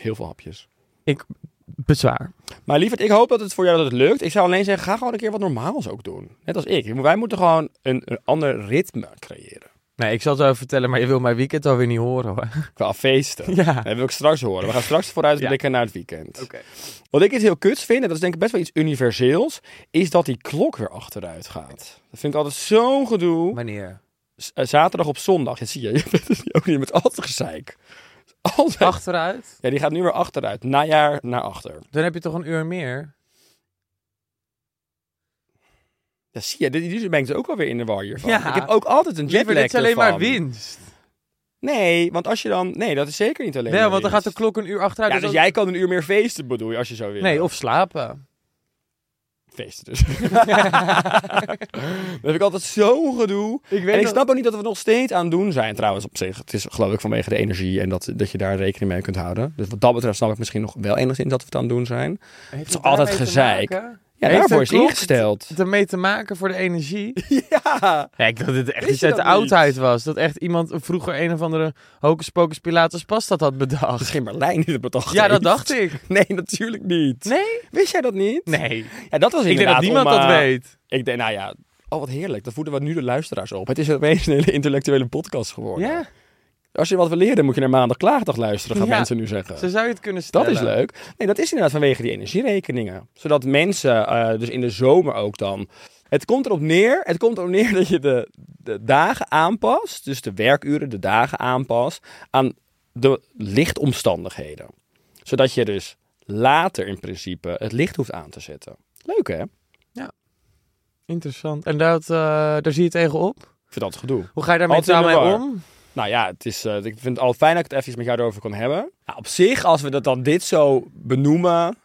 A: Heel veel hapjes.
B: Ik bezwaar.
A: Maar lieverd, ik hoop dat het voor jou dat het lukt. Ik zou alleen zeggen, ga gewoon een keer wat normaals ook doen. Net als ik. Wij moeten gewoon een, een ander ritme creëren.
B: Nee, ik zal het wel vertellen, maar je wil mijn weekend alweer niet horen hoor.
A: Qua feesten.
B: Ja.
A: Dat wil ik straks horen. We gaan straks vooruitblikken naar het weekend. Wat ik iets heel kuts vind, en dat is denk ik best wel iets universeels, is dat die klok weer achteruit gaat. Dat vind ik altijd zo'n gedoe.
B: Wanneer?
A: Z- eh, Zaterdag op zondag. Ja, zie je, je bent dus ook niet met altijd gezeik. Altijd.
B: Achteruit?
A: Ja, die gaat nu weer achteruit. Najaar naar achter.
B: Dan heb je toch een uur meer?
A: Ja, zie je, dit- hier ben ik dus ook alweer in de war hiervan.
B: Ja.
A: Ik heb ook altijd een jetlag
B: Liever, dit is alleen maar
A: ervan.
B: winst.
A: Nee, want als je dan... Nee, dat is zeker niet alleen
B: Wel,
A: maar
B: want dan gaat
A: winst.
B: de klok een uur achteruit.
A: Ja, dus
B: dat-
A: jij kan een uur meer feesten, bedoel je, als je zo wil.
B: Nee, of slapen.
A: Feesten dus. dat heb ik altijd zo'n gedoe.
B: Ik weet
A: en ik
B: nog-
A: snap ook niet dat we er nog steeds aan het doen zijn trouwens op zich. Het is geloof ik vanwege de energie en dat, dat je daar rekening mee kunt houden. Dus wat dat betreft snap ik misschien nog wel enigszins dat we het aan het doen zijn.
B: Het
A: is altijd gezeik. Ja,
B: Heeft
A: daarvoor
B: een
A: is het
B: klok
A: ingesteld.
B: Het ermee te maken voor de energie.
A: Ja.
B: Ja, ik dacht dat dit echt
A: Wist
B: iets
A: je
B: uit de
A: dat niet?
B: oudheid was. Dat echt iemand vroeger een of andere Hocus Pocus Pilatus Pasta had bedacht.
A: Misschien Berlijn die het bedacht
B: Ja, dat
A: heeft.
B: dacht ik.
A: Nee, natuurlijk niet.
B: Nee?
A: Wist jij dat niet?
B: Nee.
A: Ja, dat was
B: Ik denk
A: inderdaad
B: dat niemand
A: om,
B: dat
A: eh,
B: weet.
A: Ik denk, nou ja, oh wat heerlijk, dat voeden we nu de luisteraars op. Het is opeens een hele intellectuele podcast geworden.
B: Ja,
A: Als je wat wil leren, moet je naar maandag klaagdag luisteren, gaan
B: Ja.
A: mensen nu zeggen.
B: zo zou je het kunnen
A: Dat
B: stellen.
A: is leuk. Nee, dat is inderdaad vanwege die energierekeningen. Zodat mensen, eh, dus in de zomer ook dan. Het komt erop neer, het komt erop neer dat je de, de dagen aanpast. Dus de werkuren, de dagen aanpast. Aan de lichtomstandigheden. Zodat je dus later in principe het licht hoeft aan te zetten. Leuk hè? Ik
B: Interessant. En dat, eh, daar zie je tegenop.
A: vind dat gedoe.
B: Hoe ga je daarmee
A: Altijd in de
B: samen
A: war.
B: om?
A: Nou ja, het is, eh, ik vind het al fijn dat ik het even met jou erover kan hebben. Nou, op zich, als we dat dan dit zo benoemen.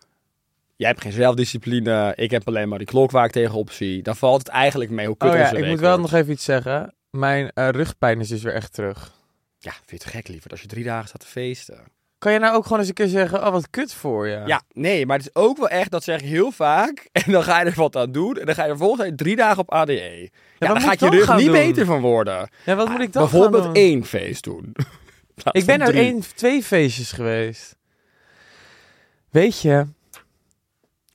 A: Jij hebt geen zelfdiscipline, ik heb alleen maar die klok waar ik tegenop zie. Dan valt het eigenlijk mee hoe kut
B: Oh ja,
A: onze
B: ik
A: week
B: moet wel
A: wordt.
B: nog even iets zeggen. Mijn eh, rugpijn is dus weer echt terug.
A: Ja, vind je het gek liever als je drie dagen staat te feesten?
B: Kan je nou ook gewoon eens een keer zeggen, oh wat kut voor je.
A: Ja. nee, maar het is ook wel echt, dat zeg ik heel vaak. En dan ga je er wat aan doen en dan ga je er volgens mij drie dagen op ADE. Ja,
B: wat
A: dan
B: moet
A: gaat
B: ik
A: je
B: dan
A: rug
B: gaan
A: niet
B: doen?
A: beter van worden.
B: Ja, wat moet ik dan
A: Bijvoorbeeld
B: gaan doen?
A: één feest doen. Nou,
B: Ik ben
A: er
B: naar één, twee feestjes geweest. Weet je,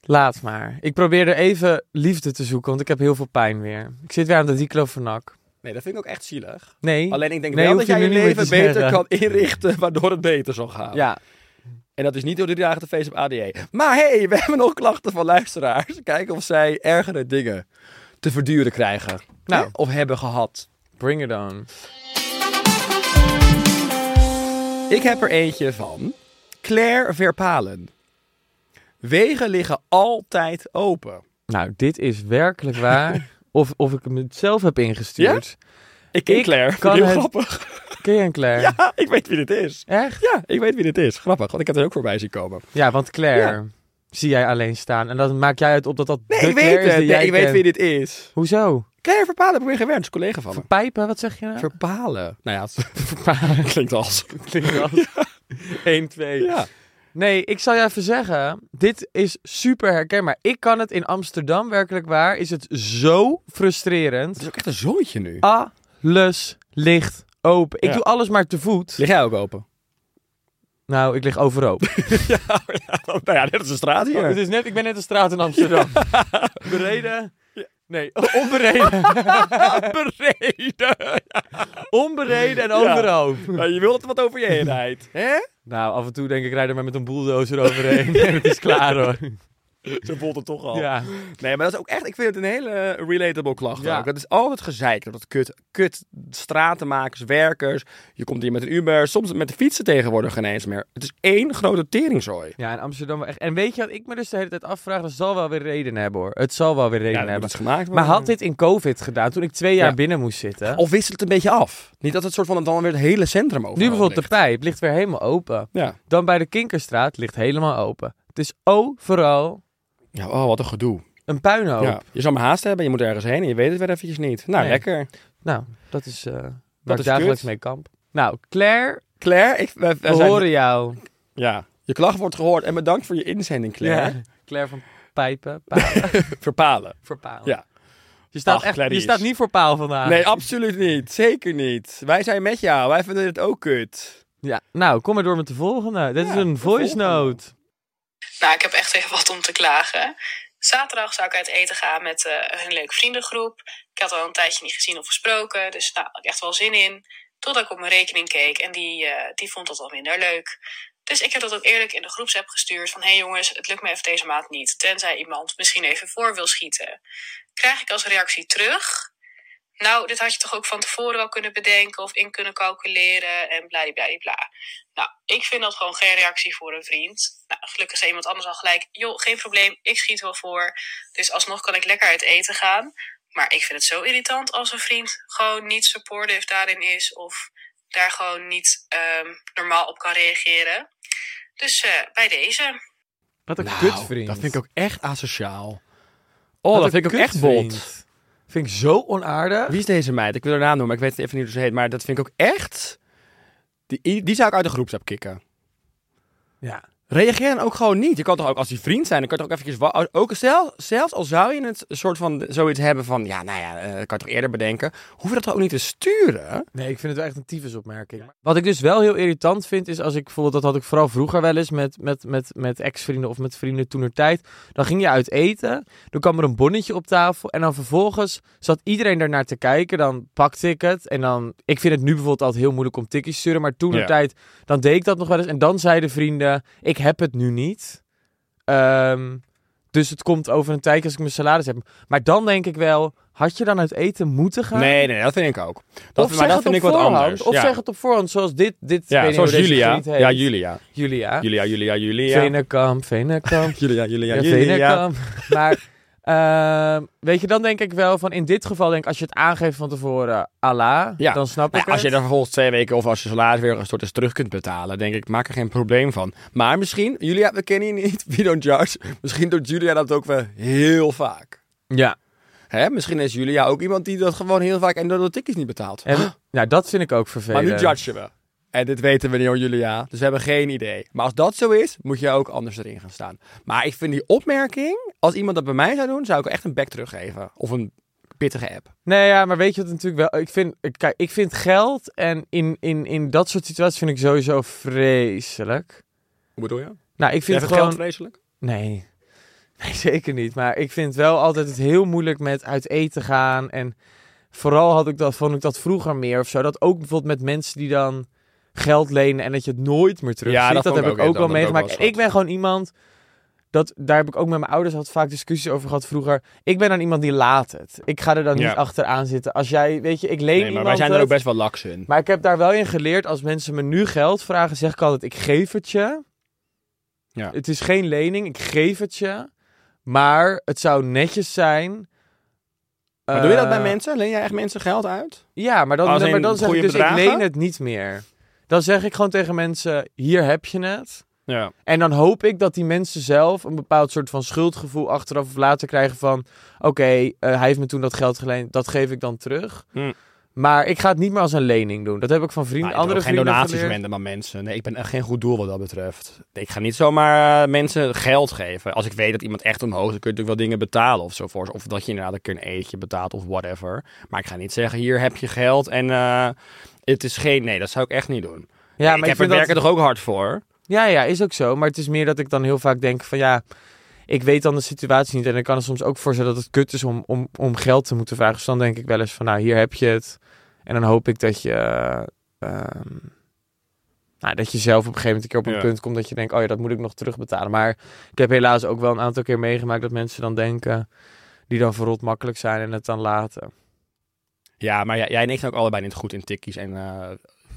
B: laat maar. Ik probeerde even liefde te zoeken, want ik heb heel veel pijn weer. Ik zit weer aan de diclofenac.
A: Nee, dat vind ik ook echt zielig.
B: Nee.
A: Alleen ik denk
B: Nee,
A: wel dat
B: hoef je
A: jij je
B: nu niet meer
A: leven
B: te
A: beter
B: zeggen.
A: kan inrichten, waardoor het beter zal gaan.
B: Ja,
A: En dat is niet door de drie dagen te feest op ADE. Maar hey, we hebben nog klachten van luisteraars. Kijken of zij ergere dingen te verduren krijgen.
B: Nou.
A: Hè? Of hebben gehad.
B: bring it on.
A: Ik heb er eentje van Claire Verpalen. Wegen liggen altijd open.
B: Nou, dit is werkelijk waar. Of, of ik hem het zelf heb ingestuurd.
A: Ik ken
B: Ik
A: Claire,
B: kan
A: vind ik heel
B: het-
A: grappig.
B: Ken je een Claire?
A: Ja, ik weet wie dit is.
B: Echt?
A: Ja, ik weet wie dit is. Grappig, want ik had er ook voorbij zien komen.
B: Ja, want Claire zie jij alleen staan. En dan maak jij het op dat dat
A: Nee,
B: de
A: ik
B: Claire
A: weet
B: is
A: het.
B: die
A: Nee,
B: jij
A: ik weet
B: kent.
A: wie dit is.
B: Hoezo?
A: Claire Verpalen, heb ik weer gewerkt. is een collega van me.
B: Pijpen, wat zeg je nou?
A: Verpalen. Nou ja, het
B: Verpalen.
A: klinkt als...
B: Klinkt als 1, 2.
A: Ja.
B: Nee, ik zal je even zeggen, dit is super herkenbaar. Ik kan het in Amsterdam werkelijk waar, is het zo
A: Het
B: frustrerend.
A: is ook echt een zoontje nu.
B: Alles ligt open. Ik
A: Ja.
B: doe alles maar te voet.
A: Lig jij ook open?
B: Nou, ik lig overhoop. Oh,
A: nou ja, dit is een straat hier.
B: het is net, ik ben net de straat in Amsterdam. Bereden? Nee, onbereden.
A: bereden.
B: onbereden en
A: Ja.
B: overhoop.
A: je wilt wat over je eenheid. Hè?
B: Nou, af en toe denk ik, rijd er maar met een bulldozer overheen. en het is klaar hoor.
A: Zo voelt het toch al.
B: Ja.
A: Nee, maar dat is ook echt... Ik vind het een hele eh, relatable klacht
B: Ja.
A: ook. Dat is altijd gezeik. Dat kut, kut stratenmakers, werkers. Je komt hier met een Uber. Soms met de fietsen tegenwoordig geen eens meer. Het is één grote teringzooi.
B: Ja, in Amsterdam wel echt. En weet je wat ik me dus de hele tijd afvraag? Dat zal wel weer reden hebben hoor. Het zal wel weer reden
A: dat
B: hebben.
A: is gemaakt.
B: Maar had dit in COVID gedaan, toen ik twee jaar
A: Ja.
B: binnen moest zitten?
A: Of wisselt het een beetje af. Niet dat het soort van dan weer het hele centrum over.
B: nu bijvoorbeeld de pijp ligt weer helemaal open.
A: Ja.
B: Dan bij de Kinkerstraat ligt helemaal open. Het is overal
A: ja. Oh, wat een gedoe.
B: een puinhoop.
A: Ja. Oh. Je zou maar haast hebben, je moet ergens heen en je weet het weer eventjes niet. Nou,
B: Nee.
A: lekker.
B: Nou, dat is eh waar
A: Dat
B: ik
A: is
B: dagelijks
A: kut.
B: mee kamp. Nou, Claire,
A: Claire, ik, we,
B: we horen jou.
A: Ja, je klacht wordt gehoord en bedankt voor je inzending, Claire.
B: Ja. Claire van Pijpen. Paal,
A: Verpalen.
B: voor paal.
A: Ja.
B: Je staat,
A: Ach,
B: echt,
A: Clarice.
B: je staat niet voor paal vandaag.
A: Nee, absoluut niet. Zeker niet. Wij zijn met jou. Wij vinden het ook kut.
B: Ja. Nou, kom maar door met de volgende. Dit
A: Ja,
B: is een
A: de
B: voice
A: volgende.
B: note.
E: Nou, ik heb echt even wat om te klagen. Zaterdag zou ik uit eten gaan met eh, een leuke vriendengroep. Ik had al een tijdje niet gezien of gesproken, dus nou, had ik echt wel zin in. Totdat ik op mijn rekening keek en die, eh, die vond dat al minder leuk. Dus ik heb dat ook eerlijk in de groepsapp gestuurd van... hé hey jongens, het lukt me even deze maand niet. Tenzij iemand misschien even voor wil schieten. Krijg ik als reactie terug... Nou, dit had je toch ook van tevoren wel kunnen bedenken of in kunnen calculeren en bladibladibla. Nou, ik vind dat gewoon geen reactie voor een vriend. Nou, gelukkig zei iemand anders al gelijk: joh, geen probleem, ik schiet wel voor. Dus alsnog kan ik lekker uit eten gaan. Maar ik vind het zo irritant als een vriend gewoon niet supportive daarin is of daar gewoon niet ehm, normaal op kan reageren. Dus eh, bij deze.
B: Wat een
A: Nou,
B: kutvriend.
A: Dat vind ik ook echt asociaal.
B: Wat
A: Oh, dat
B: een
A: vind ik ook echt
B: kutvriend.
A: bot.
B: Vind ik zo onaardig.
A: Wie is deze meid? Ik wil haar naam noemen, maar ik weet even niet hoe ze heet. Maar dat vind ik ook echt... Die, die zou ik uit de groep kicken.
B: Ja.
A: Reageer dan ook gewoon niet. Je kan toch ook, als die vriend zijn, dan kan je toch ook eventjes... wa- Ook zelf, zelfs al zou je het soort van zoiets hebben van... Ja, nou ja, eh, dat kan je toch eerder bedenken. Hoef je dat toch ook niet te sturen?
B: Nee, ik vind het wel echt een tyfusopmerking. Wat ik dus wel heel irritant vind, is als ik bijvoorbeeld, dat had ik vooral vroeger wel eens met, met, met, met ex-vrienden of met vrienden toenertijd. Dan ging je uit eten, dan kwam er een bonnetje op tafel en dan vervolgens zat iedereen daarnaar te kijken. Dan pakte ik het en dan, ik vind het nu bijvoorbeeld altijd heel moeilijk om tikjes te sturen, maar toenertijd, dan deed ik dat nog wel eens. En dan zeiden vrienden, ik heb het nu niet. Ehm, dus het komt over een tijdje als ik mijn salaris heb. Maar dan denk ik wel, had je dan uit eten moeten gaan?
A: Nee, nee, dat vind ik ook. Dat,
B: of
A: maar
B: zeg
A: dat
B: het
A: vind
B: op
A: ik wat
B: voorhand,
A: anders.
B: Of
A: ja.
B: zeg het op voorhand, zoals dit. dit ik weet
A: ja,
B: niet
A: zoals
B: hoe deze
A: Julia.
B: vriend heet.
A: Ja, Julia.
B: Julia.
A: Julia, Julia, Julia.
B: Venekamp, Venekamp.
A: Julia, Julia,
B: ja,
A: Julia.
B: Venekamp. Maar ehm, weet je, dan denk ik wel van in dit geval denk ik als je het aangeeft van tevoren, Allah,
A: Ja.
B: dan snap ik
A: Nou, als je
B: het.
A: er vervolgens twee weken of als je salaris weer gestort is terug kunt betalen, denk ik, maak er geen probleem van. Maar misschien, Julia, we kennen je niet, we don't judge. Misschien doet Julia dat ook wel heel vaak.
B: Ja.
A: Hè? Misschien is Julia ook iemand die dat gewoon heel vaak en dat de tickets niet betaalt.
B: En, nou, dat vind ik ook
A: maar
B: vervelend.
A: nu judgen we. En dit weten we niet hoor, Julia. Dus we hebben geen idee. Maar als dat zo is, moet je ook anders erin gaan staan. Maar ik vind die opmerking, als iemand dat bij mij zou doen, zou ik echt een back teruggeven. Of een pittige app.
B: Nee, ja, maar weet je wat natuurlijk wel... Ik vind, ik- kijk, ik vind geld en in, in, in dat soort situaties vind ik sowieso vreselijk.
A: Hoe bedoel je? Jij
B: Nou, ik vind
A: vindt
B: het gewoon...
A: geld vreselijk?
B: Nee. Nee, zeker niet. Maar ik vind wel altijd het heel moeilijk met uit eten gaan. En vooral had ik dat, vond ik dat vroeger meer of zo. Dat ook bijvoorbeeld met mensen die dan geld lenen en dat je het nooit meer terug
A: Ja,
B: ziet.
A: dat
B: Dat,
A: vond
B: heb
A: ik
B: ik
A: ook,
B: ook
A: ja,
B: wel
A: dat heb ik ook wel
B: meegemaakt.
A: eens
B: En Ik ben gewoon iemand, dat, daar heb ik ook met mijn ouders had vaak discussies over gehad vroeger. Ik ben dan iemand die laat het. Ik ga er dan
A: Ja.
B: niet achteraan zitten. Als jij, weet je, ik leen
A: Nee, maar
B: iemand
A: wij zijn er ook
B: het.
A: best wel laks in.
B: Maar ik heb daar wel in geleerd, als mensen me nu geld vragen, zeg ik altijd, ik geef het je.
A: Ja.
B: Het is geen lening, ik geef het je. Maar het zou netjes zijn.
A: Maar doe je dat
B: eh,
A: bij mensen? Leen jij echt mensen geld uit?
B: Ja, maar dan,
A: Als
B: dan- maar
A: in
B: dan zeg
A: goede
B: ik dus,
A: bedragen?
B: ik leen het niet meer. Dan zeg ik gewoon tegen mensen, hier heb je het.
A: Ja.
B: En dan hoop ik dat die mensen zelf een bepaald soort van schuldgevoel achteraf of later krijgen van... Oké, eh, hij heeft me toen dat geld geleend, dat geef ik dan terug.
A: Hm.
B: Maar ik ga het niet meer als een lening doen. Dat heb ik van vrienden,
A: Maar
B: andere
A: andere Nou, geen
B: vrienden
A: donaties wenden,
B: geleerd.
A: maar mensen. Nee, ik ben echt geen goed doel wat dat betreft. Ik ga niet zomaar eh, mensen geld geven. Als ik weet dat iemand echt omhoog is, dan kun je natuurlijk wel dingen betalen of zo voor. ze. Of dat je inderdaad een keer een eetje betaalt of whatever. Maar ik ga niet zeggen, hier heb je geld en eh, het is geen... Nee, dat zou ik echt niet doen.
B: Ja, maar
A: ik heb
B: vind
A: er
B: dat-
A: werken toch ook hard voor?
B: Ja, ja, is ook zo. Maar het is meer dat ik dan heel vaak denk van ja, ik weet dan de situatie niet. En ik kan er soms ook voor zijn dat het kut is om, om, om geld te moeten vragen. Dus dan denk ik wel eens van nou, hier heb je het. En dan hoop ik dat je, ehm, nou, dat je zelf op een gegeven moment een keer op een
A: Ja.
B: punt komt dat je denkt, oh ja, dat moet ik nog terugbetalen. Maar ik heb helaas ook wel een aantal keer meegemaakt dat mensen dan denken, die dan verrot makkelijk zijn en het dan laten.
A: Ja, maar jij, jij en ik zijn ook allebei niet goed in tikkies en eh,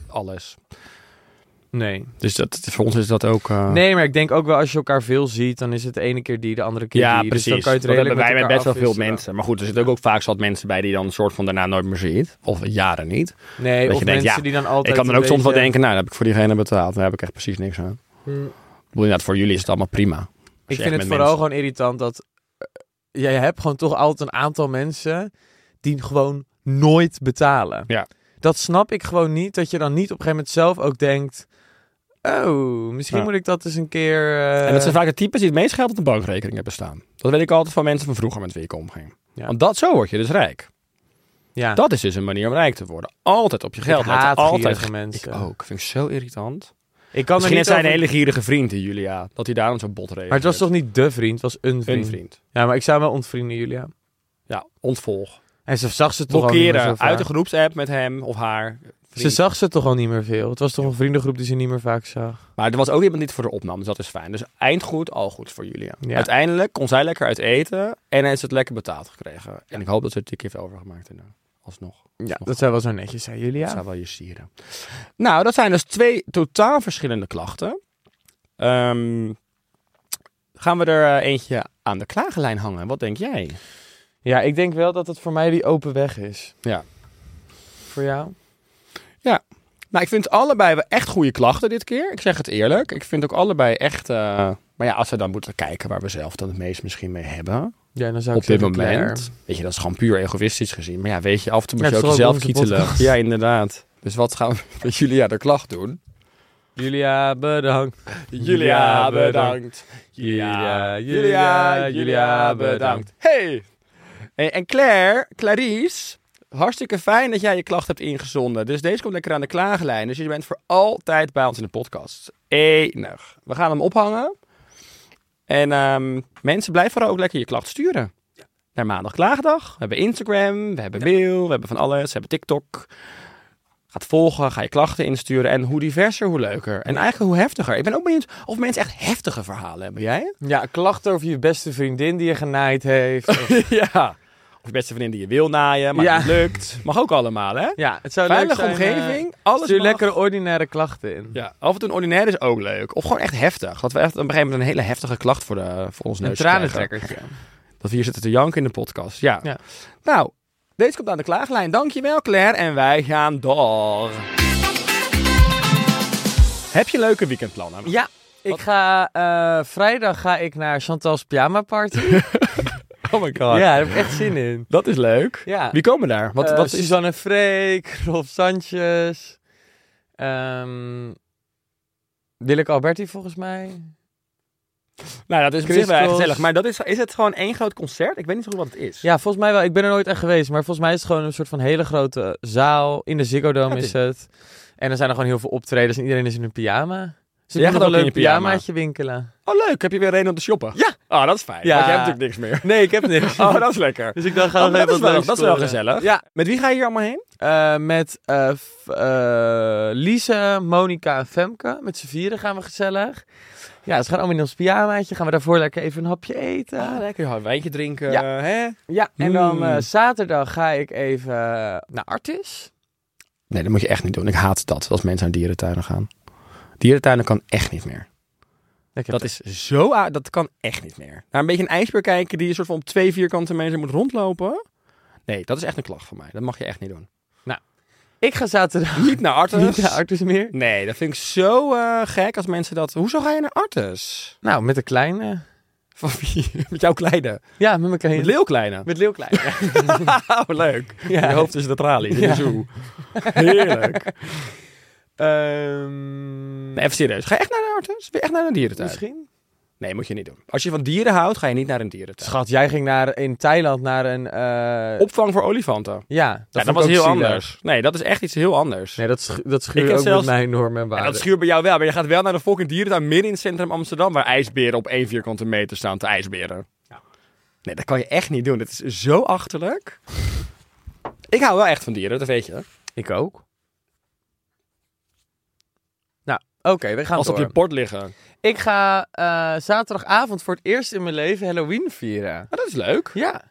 A: alles.
B: Nee.
A: Dus dat, voor ons is dat ook... eh,
B: Ah. Nee, maar ik denk ook wel als je elkaar veel ziet, dan is het de ene keer die, de andere keer
A: Ja,
B: die.
A: precies.
B: Dus dan kan je het
A: dat hebben
B: redelijk
A: wij met
B: elkaar
A: best wel veel
B: afwisselen.
A: mensen. Maar goed, er zitten ook, ook vaak zat mensen bij die dan een soort van daarna nooit meer ziet. Of jaren niet.
B: Nee,
A: Dat
B: of
A: je denkt,
B: mensen
A: ja,
B: die dan altijd.
A: ik kan dan
B: een
A: ook soms wel
B: beetje-
A: denken, nou, dan heb ik voor diegene betaald. Daar heb ik echt precies niks aan. Ik
B: Hmm.
A: bedoel, inderdaad, voor jullie is het allemaal prima. Als je
B: Ik
A: echt
B: vind het
A: met
B: vooral
A: mensen-
B: gewoon irritant dat. eh, jij hebt gewoon toch altijd een aantal mensen. die gewoon nooit betalen.
A: Ja.
B: Dat snap ik gewoon niet. Dat je dan niet op een gegeven moment zelf ook denkt. Oh, misschien
A: Ja.
B: moet ik dat eens een keer. eh,
A: En dat zijn vaak de types die het meest geld op de bankrekening hebben staan. Dat weet ik altijd van mensen van vroeger met wie ik omging.
B: Ja.
A: Want dat, zo word je dus rijk.
B: ja.
A: Dat is dus een manier om rijk te worden. Altijd op je geld.
B: ik
A: letten,
B: haat
A: altijd
B: gierige
A: Ik
B: mensen.
A: ook. Vind ik zo irritant.
B: Ik kan
A: Misschien
B: er
A: is
B: niet
A: zijn een
B: over-
A: hele gierige vriend, die Julia. Dat hij daarom zo bot reageert.
B: Maar het was toch niet de vriend, het was een vriend.
A: een vriend.
B: Ja, maar ik zou hem wel ontvrienden, Julia.
A: Ja, ontvolg.
B: En ze zag ze toch al niet meer zo
A: blokkeren
B: vaak.
A: uit de groepsapp met hem of haar.
B: Ze
A: vriend.
B: zag ze toch al niet meer veel. Het was toch een vriendengroep die ze niet meer vaak zag.
A: Maar er was ook iemand die het voor haar opnam, dus dat is fijn. Dus eind goed, al goed voor jullie.
B: Ja.
A: Uiteindelijk kon zij lekker uit eten en heeft ze het lekker betaald gekregen. En ik hoop dat ze het die keer heeft overgemaakt. En, eh, alsnog.
B: Ja,
A: nog
B: dat zou wel zo netjes zijn,
A: Dat
B: Julia.
A: zou wel je sieren. Nou, dat zijn dus twee totaal verschillende klachten. Ehm, gaan we er eh, eentje aan de klagenlijn hangen? Wat denk jij?
B: Ja, ik denk wel dat het voor mij die open weg is.
A: Ja.
B: Voor jou?
A: Nou, ik vind allebei wel echt goede klachten dit keer. Ik zeg het eerlijk. Ik vind ook allebei echt... eh, maar ja, als we dan moeten kijken waar we zelf dan het meest misschien mee hebben.
B: Ja, dan zou ik
A: op dit
B: zeggen Claire.
A: moment. Weet je, dat is gewoon puur egoïstisch gezien. Maar ja, weet je, af en toe moet je
B: Ja,
A: ook
B: het is
A: jezelf
B: toch ook onze
A: kietelen.
B: podcast.
A: Ja, inderdaad. Dus wat gaan we met Julia de klacht doen?
B: Julia, bedankt.
A: Julia, bedankt.
B: Julia,
A: Julia, Julia, bedankt. Hey! En, en Claire, Clarice, hartstikke fijn dat jij je klacht hebt ingezonden. Dus deze komt lekker aan de klaaglijn. Dus je bent voor altijd bij ons in de podcast. Enig. We gaan hem ophangen. En ehm, mensen, blijf vooral ook lekker je klacht sturen. Naar maandag klaagdag. We hebben Instagram, we hebben mail, we hebben van alles, we hebben TikTok. Gaat volgen, ga je klachten insturen. En hoe diverser, hoe leuker. En eigenlijk hoe heftiger. Ik ben ook benieuwd of mensen echt heftige verhalen hebben. Jij?
B: Ja, klachten over je beste vriendin die je genaaid heeft. Of-
A: ja. Of beste vriendin die je wil naaien, maar
B: Ja.
A: het lukt. Mag ook allemaal, hè?
B: ja, het zou
A: Veilige
B: leuk zijn, eh,
A: omgeving, alles
B: Stuur
A: mag.
B: lekkere ordinaire klachten in.
A: Ja. Af en toe een ordinair is ook leuk. Of gewoon echt heftig. Dat we echt op een gegeven moment een hele heftige klacht voor, de, voor ons
B: Een
A: neus krijgen.
B: tranentrekkertje.
A: Dat we hier zitten te janken in de podcast. Ja.
B: Ja.
A: Nou, deze komt aan de klaaglijn. Dankjewel Claire en wij gaan door. Heb je leuke weekendplannen?
B: Ja, ik ga, eh, vrijdag ga ik naar Chantal's pyjama party.
A: Oh my god.
B: ja, daar heb ik echt zin in.
A: Dat is leuk.
B: Ja.
A: Wie komen daar? Wat,
B: Eh,
A: wat is...
B: Suzanne Freek, Rolf Sanchez, ehm Willeke Alberti volgens mij.
A: Nou, dat is op zich wel
B: Crystals.
A: gezellig. Maar dat is, is het gewoon één groot concert? Ik weet niet zo goed wat het is.
B: Ja, volgens mij wel. Ik ben er nooit echt geweest, maar volgens mij is het gewoon een soort van hele grote zaal. In de Ziggo Dome
A: Ja, het
B: is het. En er zijn er gewoon heel veel optredens en iedereen is in een pyjama. Dus ik
A: Jij
B: moet nog
A: gaat
B: een
A: ook in
B: leuk
A: je pyjama.
B: pyjamaatje winkelen.
A: Oh, leuk. Heb je weer reden om te shoppen?
B: Ja.
A: Oh, dat is fijn.
B: Ja.
A: Want jij hebt natuurlijk niks meer.
B: Nee, ik heb niks.
A: Oh, dat is lekker.
B: Dus ik dacht,
A: Oh,
B: ga nog
A: dat,
B: even
A: is
B: wat
A: wel,
B: leuks
A: dat is wel
B: scoren.
A: gezellig.
B: Ja,
A: Met wie ga je hier allemaal heen?
B: eh, met eh, f- eh, Lise, Monika en Femke. Met z'n vieren gaan we gezellig. Ja, ze gaan allemaal in ons pyjamaatje. Gaan we daarvoor lekker even een hapje eten.
A: Ah, lekker. Een wijntje drinken.
B: Ja.
A: Hè?
B: Ja, en dan
A: Mm.
B: eh, zaterdag ga ik even eh, naar Artis.
A: Nee, dat moet je echt niet doen. Ik haat dat, als mensen naar dierentuinen gaan. Dierentuinen kan echt niet meer.
B: Ik heb
A: Dat is zo... a- Dat kan echt niet meer. Naar een beetje een ijsbeer kijken die een soort van op twee vierkante meter moet rondlopen. Nee, dat is echt een klacht van mij. Dat mag je echt niet doen.
B: Ik ga zaterdag
A: Niet naar Artes.
B: niet naar Artis meer.
A: Nee, dat vind ik zo eh, gek als mensen dat... Hoezo ga je naar Artes?
B: Nou, met de kleine.
A: Van wie? Met jouw kleine.
B: Ja, met mijn kleine.
A: Met Leeuw kleine.
B: met Leeuw Klein.
A: Oh, leuk.
B: Ja.
A: Je hoofd is de tralies in
B: Ja.
A: de zoo. Heerlijk.
B: Ehm,
A: Nee, even serieus. Ga je echt naar de arts? Ben je echt naar een dierentuin?
B: misschien?
A: Nee, moet je niet doen. Als je van dieren houdt, ga je niet naar een dierentuin.
B: Schat, jij ging naar, in Thailand naar een... eh,
A: Opvang voor olifanten. Ja,
B: Ja, dat,
A: Dat,
B: vond ik
A: was
B: ook
A: heel
B: zielig.
A: anders. Nee, dat is echt iets heel anders.
B: Nee, dat, schu dat
A: Ik
B: schuurt
A: heb
B: ook
A: zelfs-
B: met mijn normen en
A: En
B: waarden.
A: dat schuurt bij jou wel, maar je gaat wel naar de fucking dierentuin midden in het centrum Amsterdam, waar ijsberen op één vierkante meter staan te ijsberen. Nee, dat kan je echt niet doen. Het is zo achterlijk. Ik hou wel echt van dieren, dat weet je.
B: Ik ook. Nou, oké, we gaan
A: Als ze op
B: door.
A: je bord liggen. Maar
B: Ik ga eh, zaterdagavond voor het eerst in mijn leven Halloween vieren.
A: dat is leuk.
B: Ja.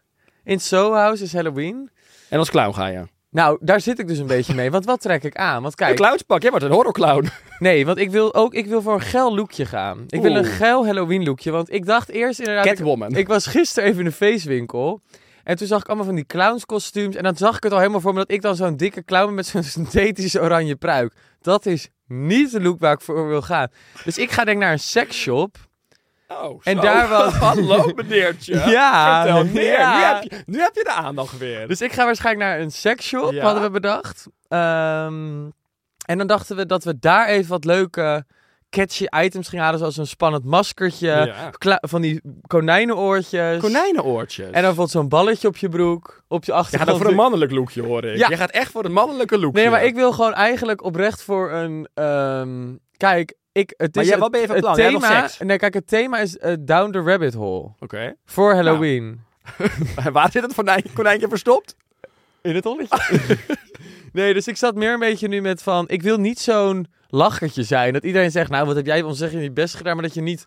B: In Soho House is Halloween.
A: En als clown ga je.
B: Nou, daar zit ik dus een beetje mee. Want wat trek ik aan? Want
A: Een
B: kijk,
A: clownspak, jij wordt een horrorclown.
B: nee, want ik wil ook ik wil voor een geil lookje gaan. Ik wil een
A: Oeh.
B: geil Halloween lookje. Want ik dacht eerst inderdaad... ik-
A: Catwoman.
B: Ik was gisteren even in een feestwinkel. En toen zag ik allemaal van die clownskostuums. En dan zag ik het al helemaal voor me dat ik dan zo'n dikke clown ben met zo'n synthetische oranje pruik. Dat is niet de look waar ik voor wil gaan. Dus ik ga denk ik naar een seksshop.
A: Oh,
B: En
A: zo.
B: daar was-
A: Hallo meneertje.
B: Ja,
A: Vertel meer.
B: ja.
A: Nu, heb je, nu heb je de aandacht weer.
B: Dus ik ga waarschijnlijk naar een seksshop,
A: Ja.
B: hadden we bedacht. Ehm, en dan dachten we dat we daar even wat leuke catchy items gingen halen. Zoals een spannend maskertje,
A: Ja.
B: kla- van die konijnenoortjes.
A: Dus- konijnenoortjes.
B: En dan bijvoorbeeld zo'n balletje op je broek, op je
A: je
B: achtergrond.
A: gaat ook voor een mannelijk lookje, hoor ik.
B: Ja.
A: Je gaat echt voor een mannelijke lookje.
B: Nee, maar ik wil gewoon eigenlijk oprecht voor een. ehm, kijk, ik. Het
A: Maar
B: is
A: jij-
B: het-
A: wat ben je van
B: het
A: plan? Jij hebt nog
B: thema,
A: seks?
B: Nee, kijk, het thema is eh, Down the Rabbit Hole.
A: Oké.
B: Voor Halloween.
A: Waar zit het konijntje, konijntje verstopt?
B: In het holletje. nee, dus ik zat meer een beetje nu met van... Ik wil niet zo'n lachertje zijn. Dat iedereen zegt, nou, wat heb jij ontzettend je best gedaan. Maar dat je niet...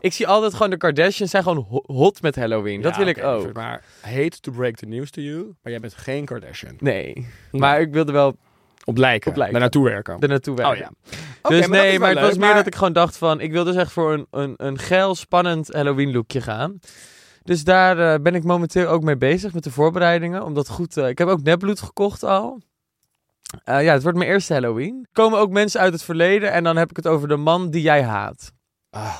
B: Ik zie altijd gewoon de Kardashians zijn gewoon ho- hot met Halloween. dat
A: Ja,
B: wil ik
A: oké,
B: ook.
A: Maar hate to break the news to you, maar jij bent geen Kardashian.
B: Nee. Maar ik wilde wel
A: Op lijken.
B: Op lijken.
A: Daar naartoe werken.
B: er naartoe werken.
A: Oh ja. Oké,
B: Dus
A: maar dat is
B: nee,
A: wel
B: maar het
A: leuk,
B: was meer
A: maar-
B: dat ik gewoon dacht van... Ik wil dus echt voor een, een, een geil, spannend Halloween lookje gaan. Dus daar eh, ben ik momenteel ook mee bezig met de voorbereidingen. Omdat goed... eh, ik heb ook nepbloed gekocht al. Eh, ja, het wordt mijn eerste Halloween. Komen ook mensen uit het verleden en dan heb ik het over de man die jij haat.
A: Ah,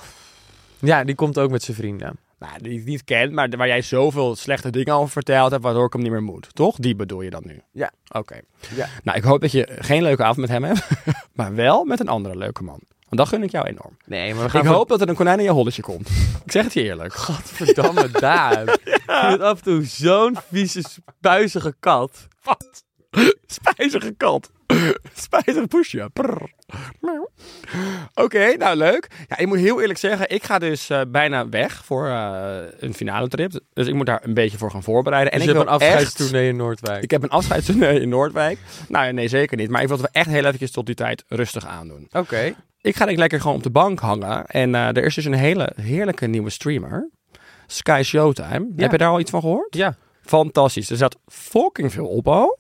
B: Ja, die komt ook met zijn vrienden.
A: nou, die ik niet ken, maar waar jij zoveel slechte dingen over verteld hebt, waardoor ik hem niet meer moet. Toch? Die bedoel je dan nu?
B: Ja.
A: Oké.
B: Ja.
A: Nou, ik hoop dat je geen leuke avond met hem hebt, maar wel met een andere leuke man. Want dat gun ik jou enorm.
B: Nee, maar we
A: ik hoop dat er een konijn in je holletje komt. Ik zeg het je eerlijk.
B: Gadverdamme daar. Ik vind het af en toe zo'n vieze, spuizige kat.
A: Wat? Spijzige kat. Spijzig poesje. Prrr. Meeuw. Oké, nou leuk. Ja, ik moet heel eerlijk zeggen, ik ga dus eh, bijna weg voor eh, een finale trip. Dus ik moet daar een beetje voor gaan voorbereiden. En
B: En
A: ik
B: ik heb Dus een
A: wil echt-
B: afscheidstournee in Noordwijk.
A: Ik heb een afscheidstournee in Noordwijk. Nou ja, nee, zeker niet. Maar ik wil het wel echt heel eventjes tot die tijd rustig aandoen.
B: Oké.
A: Ik ga denk ik lekker gewoon op de bank hangen. En eh, er is dus een hele heerlijke nieuwe streamer. Sky Showtime.
B: Ja.
A: Heb je daar al iets van gehoord?
B: Ja.
A: Fantastisch. Er zat fucking veel op al.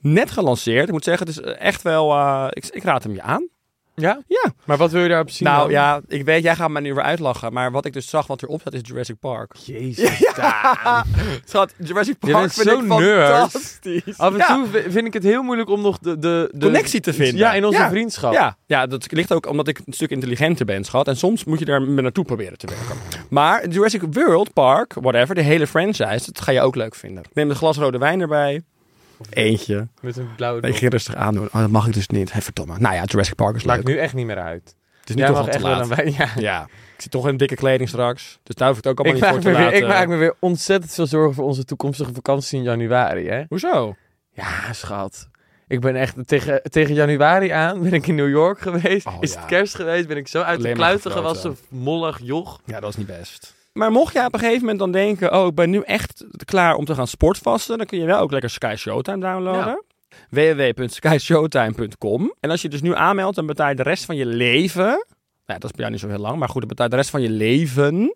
A: Net gelanceerd. Ik moet zeggen, het is echt wel... eh, ik, ik raad hem je aan.
B: Ja?
A: Ja.
B: Maar wat wil je daarop zien?
A: Nou
B: dan?
A: ja, ik weet, jij gaat me nu weer uitlachen. Maar wat ik dus zag wat erop staat is Jurassic Park.
B: Jezus.
A: Schat, Jurassic
B: Je
A: Park
B: bent
A: vind
B: zo'n
A: ik
B: nerd.
A: fantastisch.
B: Af en
A: Ja.
B: toe vi- vind ik het heel moeilijk om nog de... de, de
A: connectie te vinden.
B: Ja, in onze vriendschap.
A: Ja. ja, dat ligt ook omdat ik een stuk intelligenter ben, schat. En soms moet je daar me naartoe proberen te werken. Maar Jurassic World Park, whatever, de hele franchise, dat ga je ook leuk vinden. Neem een glas rode wijn erbij. Eentje.
B: Met een blauwe
A: Ik
B: dop.
A: ging rustig aandoen. Oh, dat mag ik dus niet. Hey, verdomme. Nou ja, Jurassic Park is leuk.
B: Maakt nu echt niet meer uit.
A: het is nu
B: Jij
A: toch
B: mag
A: al te
B: echt wel
A: laat.
B: een wijn. Ja.
A: Ja, ik zit toch in dikke kleding straks. Dus daar hoef ik het ook allemaal
B: Ik
A: niet
B: maak,
A: voor
B: me
A: te eh.
B: weer,
A: laten.
B: ik maak me weer ontzettend veel zorgen voor onze toekomstige vakantie in januari, hè?
A: Hoezo?
B: Ja, schat. Ik ben echt tegen, tegen januari aan ben ik in New York geweest.
A: Oh,
B: is
A: ja.
B: het kerst geweest? Ben ik zo uit de
A: Alleen maar
B: kluiten
A: gefloten.
B: gewassen, mollig joch.
A: Ja, dat is niet best. Maar mocht je op een gegeven moment dan denken... oh, ik ben nu echt klaar om te gaan sportvasten... dan kun je wel ook lekker Sky Showtime downloaden. www.skyshowtime.com En als je dus nu aanmeldt, dan betaal je de rest van je leven... Nou, dat is bij jou niet zo heel lang, maar goed... dan betaal je de rest van je leven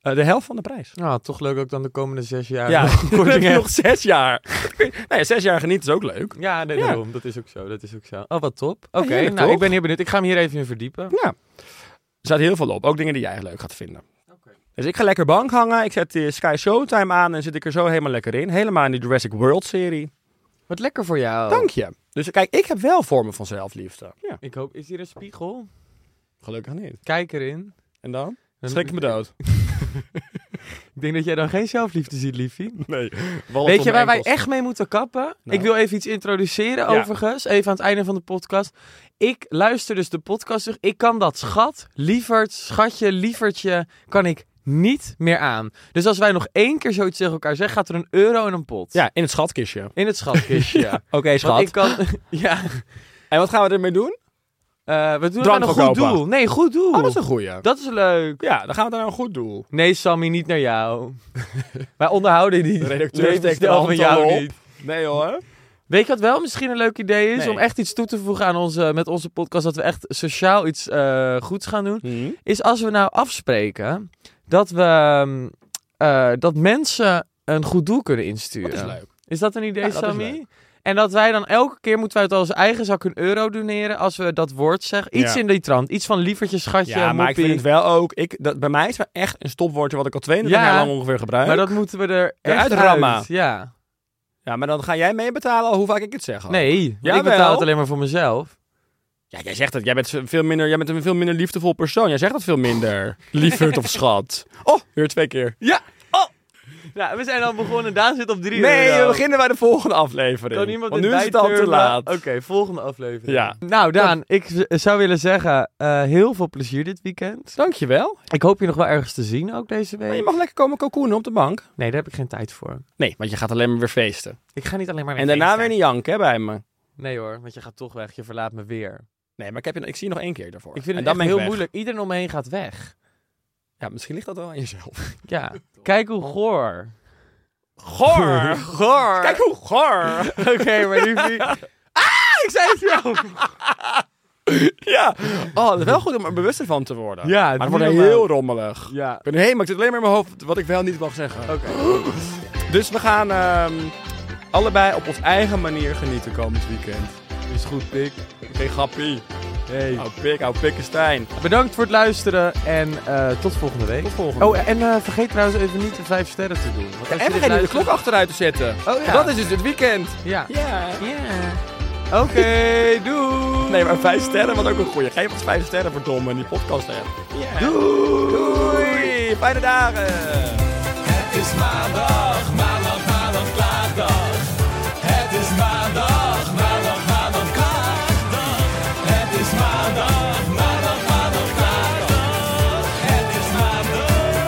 A: eh, de helft van de prijs.
B: Nou, toch leuk ook dan de komende zes jaar.
A: Ja,
B: nog
A: dan heb
B: korting
A: je
B: hebt.
A: nog zes jaar. nou ja, zes jaar genieten is ook leuk.
B: Ja, nee,
A: Ja.
B: daarom. Dat is ook zo. Dat is ook zo. Oh, wat top. Oké,
A: heerlijk,
B: nou,
A: toch?
B: ik ben heel benieuwd. Ik ga hem hier even in verdiepen.
A: Ja. Er staat heel veel op. Ook dingen die jij leuk gaat vinden. Dus ik ga lekker bank hangen. Ik zet de Sky Showtime aan en zit ik er zo helemaal lekker in. Helemaal in die Jurassic World serie.
B: Wat lekker voor jou.
A: Dank je. Dus kijk, ik heb wel vormen van zelfliefde. Ja,
B: Ik hoop, is hier een spiegel?
A: gelukkig niet.
B: Kijk erin.
A: En dan?
B: Dan-
A: Schrik ik me dood.
B: Ik denk dat jij dan geen zelfliefde ziet, liefie.
A: Nee.
B: Weet je waar wij echt mee moeten kappen?
A: Nou.
B: Ik wil even iets introduceren
A: Ja.
B: overigens, even aan het einde van de podcast. Ik luister dus de podcast terug. Ik kan dat schat, lieverd, schatje, lievertje, kan ik niet meer aan. Dus als wij nog één keer zoiets tegen elkaar zeggen, gaat er een euro in een pot.
A: Ja, in het schatkistje.
B: In het schatkistje. ja.
A: Oké,
B: Want ik kan, ja.
A: En wat gaan we ermee doen?
B: Eh, we doen
A: Drank
B: aan een goed
A: verkopen.
B: doel. Nee, goed doel.
A: Oh, dat is een goeie.
B: Dat is leuk.
A: Ja, dan gaan we daar naar een goed doel.
B: Nee, Sammy, niet naar jou. Wij onderhouden die.
A: De redacteur
B: nee,
A: steekt de
B: bestel
A: hand
B: van
A: al
B: jou
A: op.
B: niet.
A: Nee hoor.
B: Weet je wat wel misschien een leuk idee is?
A: Nee.
B: Om echt iets toe te voegen aan onze, met onze podcast. Dat we echt sociaal iets eh, goeds gaan doen.
A: Hmm.
B: Is als we nou afspreken dat we ehm, eh, dat mensen een goed doel kunnen insturen.
A: Dat is leuk.
B: Is dat een idee,
A: Ja, dat is
B: Sammy? En dat wij dan elke keer moeten we uit onze eigen zak een euro doneren als we dat woord zeggen. Iets
A: Ja.
B: in die trant. Iets van lievertje, schatje,
A: Ja, maar ik
B: moppie.
A: vind het wel ook... Ik, dat, bij mij is het wel echt een stopwoordje wat ik al 22
B: Ja.
A: jaar lang ongeveer gebruik.
B: Maar dat moeten we er echt
A: Eruit rammen.
B: uit. Ja.
A: Ja, maar dan ga jij meebetalen hoe vaak ik het zeg. al.
B: Nee, want ik
A: Jawel.
B: betaal het alleen maar voor mezelf.
A: Ja, jij zegt dat. Jij bent veel minder, jij bent een veel minder liefdevol persoon. Jij zegt dat veel minder. Lieverd of schat. Oh, weer twee keer. Ja.
B: Nou, we zijn al begonnen. Daan zit op drie
A: Nee,
B: euro.
A: we beginnen bij de volgende aflevering.
B: Kan iemand
A: Want
B: dit
A: nu is het al te
B: bijturnen?
A: laat.
B: Oké, volgende aflevering.
A: Ja.
B: Nou, Daan, ik z- zou willen zeggen, eh, heel veel plezier dit weekend.
A: Dankjewel.
B: Ik hoop je nog wel ergens te zien ook deze
A: Maar
B: week.
A: je mag lekker komen kokoenen op de bank.
B: Nee, daar heb ik geen tijd voor.
A: Nee, want je gaat alleen maar weer feesten.
B: Ik ga niet alleen maar...
A: En daarna weer niet janken hè, bij me.
B: Nee hoor, want je gaat toch weg. Je verlaat me weer.
A: Nee, maar ik, heb je, ik zie je nog één keer daarvoor.
B: Ik vind
A: en
B: het
A: dan
B: echt
A: ben ik
B: heel
A: weg.
B: moeilijk. Iedereen om me heen gaat weg.
A: Ja, misschien ligt dat wel aan jezelf.
B: Ja. Kijk hoe goor.
A: Goor!
B: Goor.
A: Kijk hoe goor!
B: Oké, maar liefie. Ah, ik zei het wel.
A: Ja. Oh, dat is wel goed om er bewust van te worden.
B: Ja,
A: maar het
B: niet
A: wordt
B: normaal.
A: heel rommelig.
B: Ja.
A: Ik ben helemaal, ik zit alleen maar in mijn hoofd wat ik wel niet mag zeggen. Oké. Dus we gaan ehm, allebei op onze eigen manier genieten komend weekend.
B: Is goed, pik.
A: Geen grappie.
B: Hey.
A: Hou pik, hou pikkenstein.
B: Bedankt voor het luisteren en eh, tot volgende week.
A: Tot volgende
B: Oh, en eh, vergeet trouwens even niet de vijf sterren te doen. want als je
A: En
B: dit
A: vergeet niet de
B: luistert-
A: klok achteruit te zetten.
B: Oh ja.
A: Dat is dus het weekend.
B: Ja.
A: Ja.
B: Oké, doei.
A: Nee, maar vijf sterren, wat ook een goeie. Geef ons vijf sterren, verdomme, in die podcast echt.
B: Doei.
A: Doei.
F: Fijne dagen!
G: Het is maandag, maandag, maandag, klaagdag. Het is maandag, maandag, maandag, klaagdag. Het is maandag, maandag, maandag, klaagdag. Het is maandag,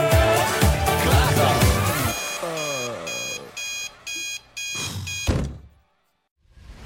G: klaagdag.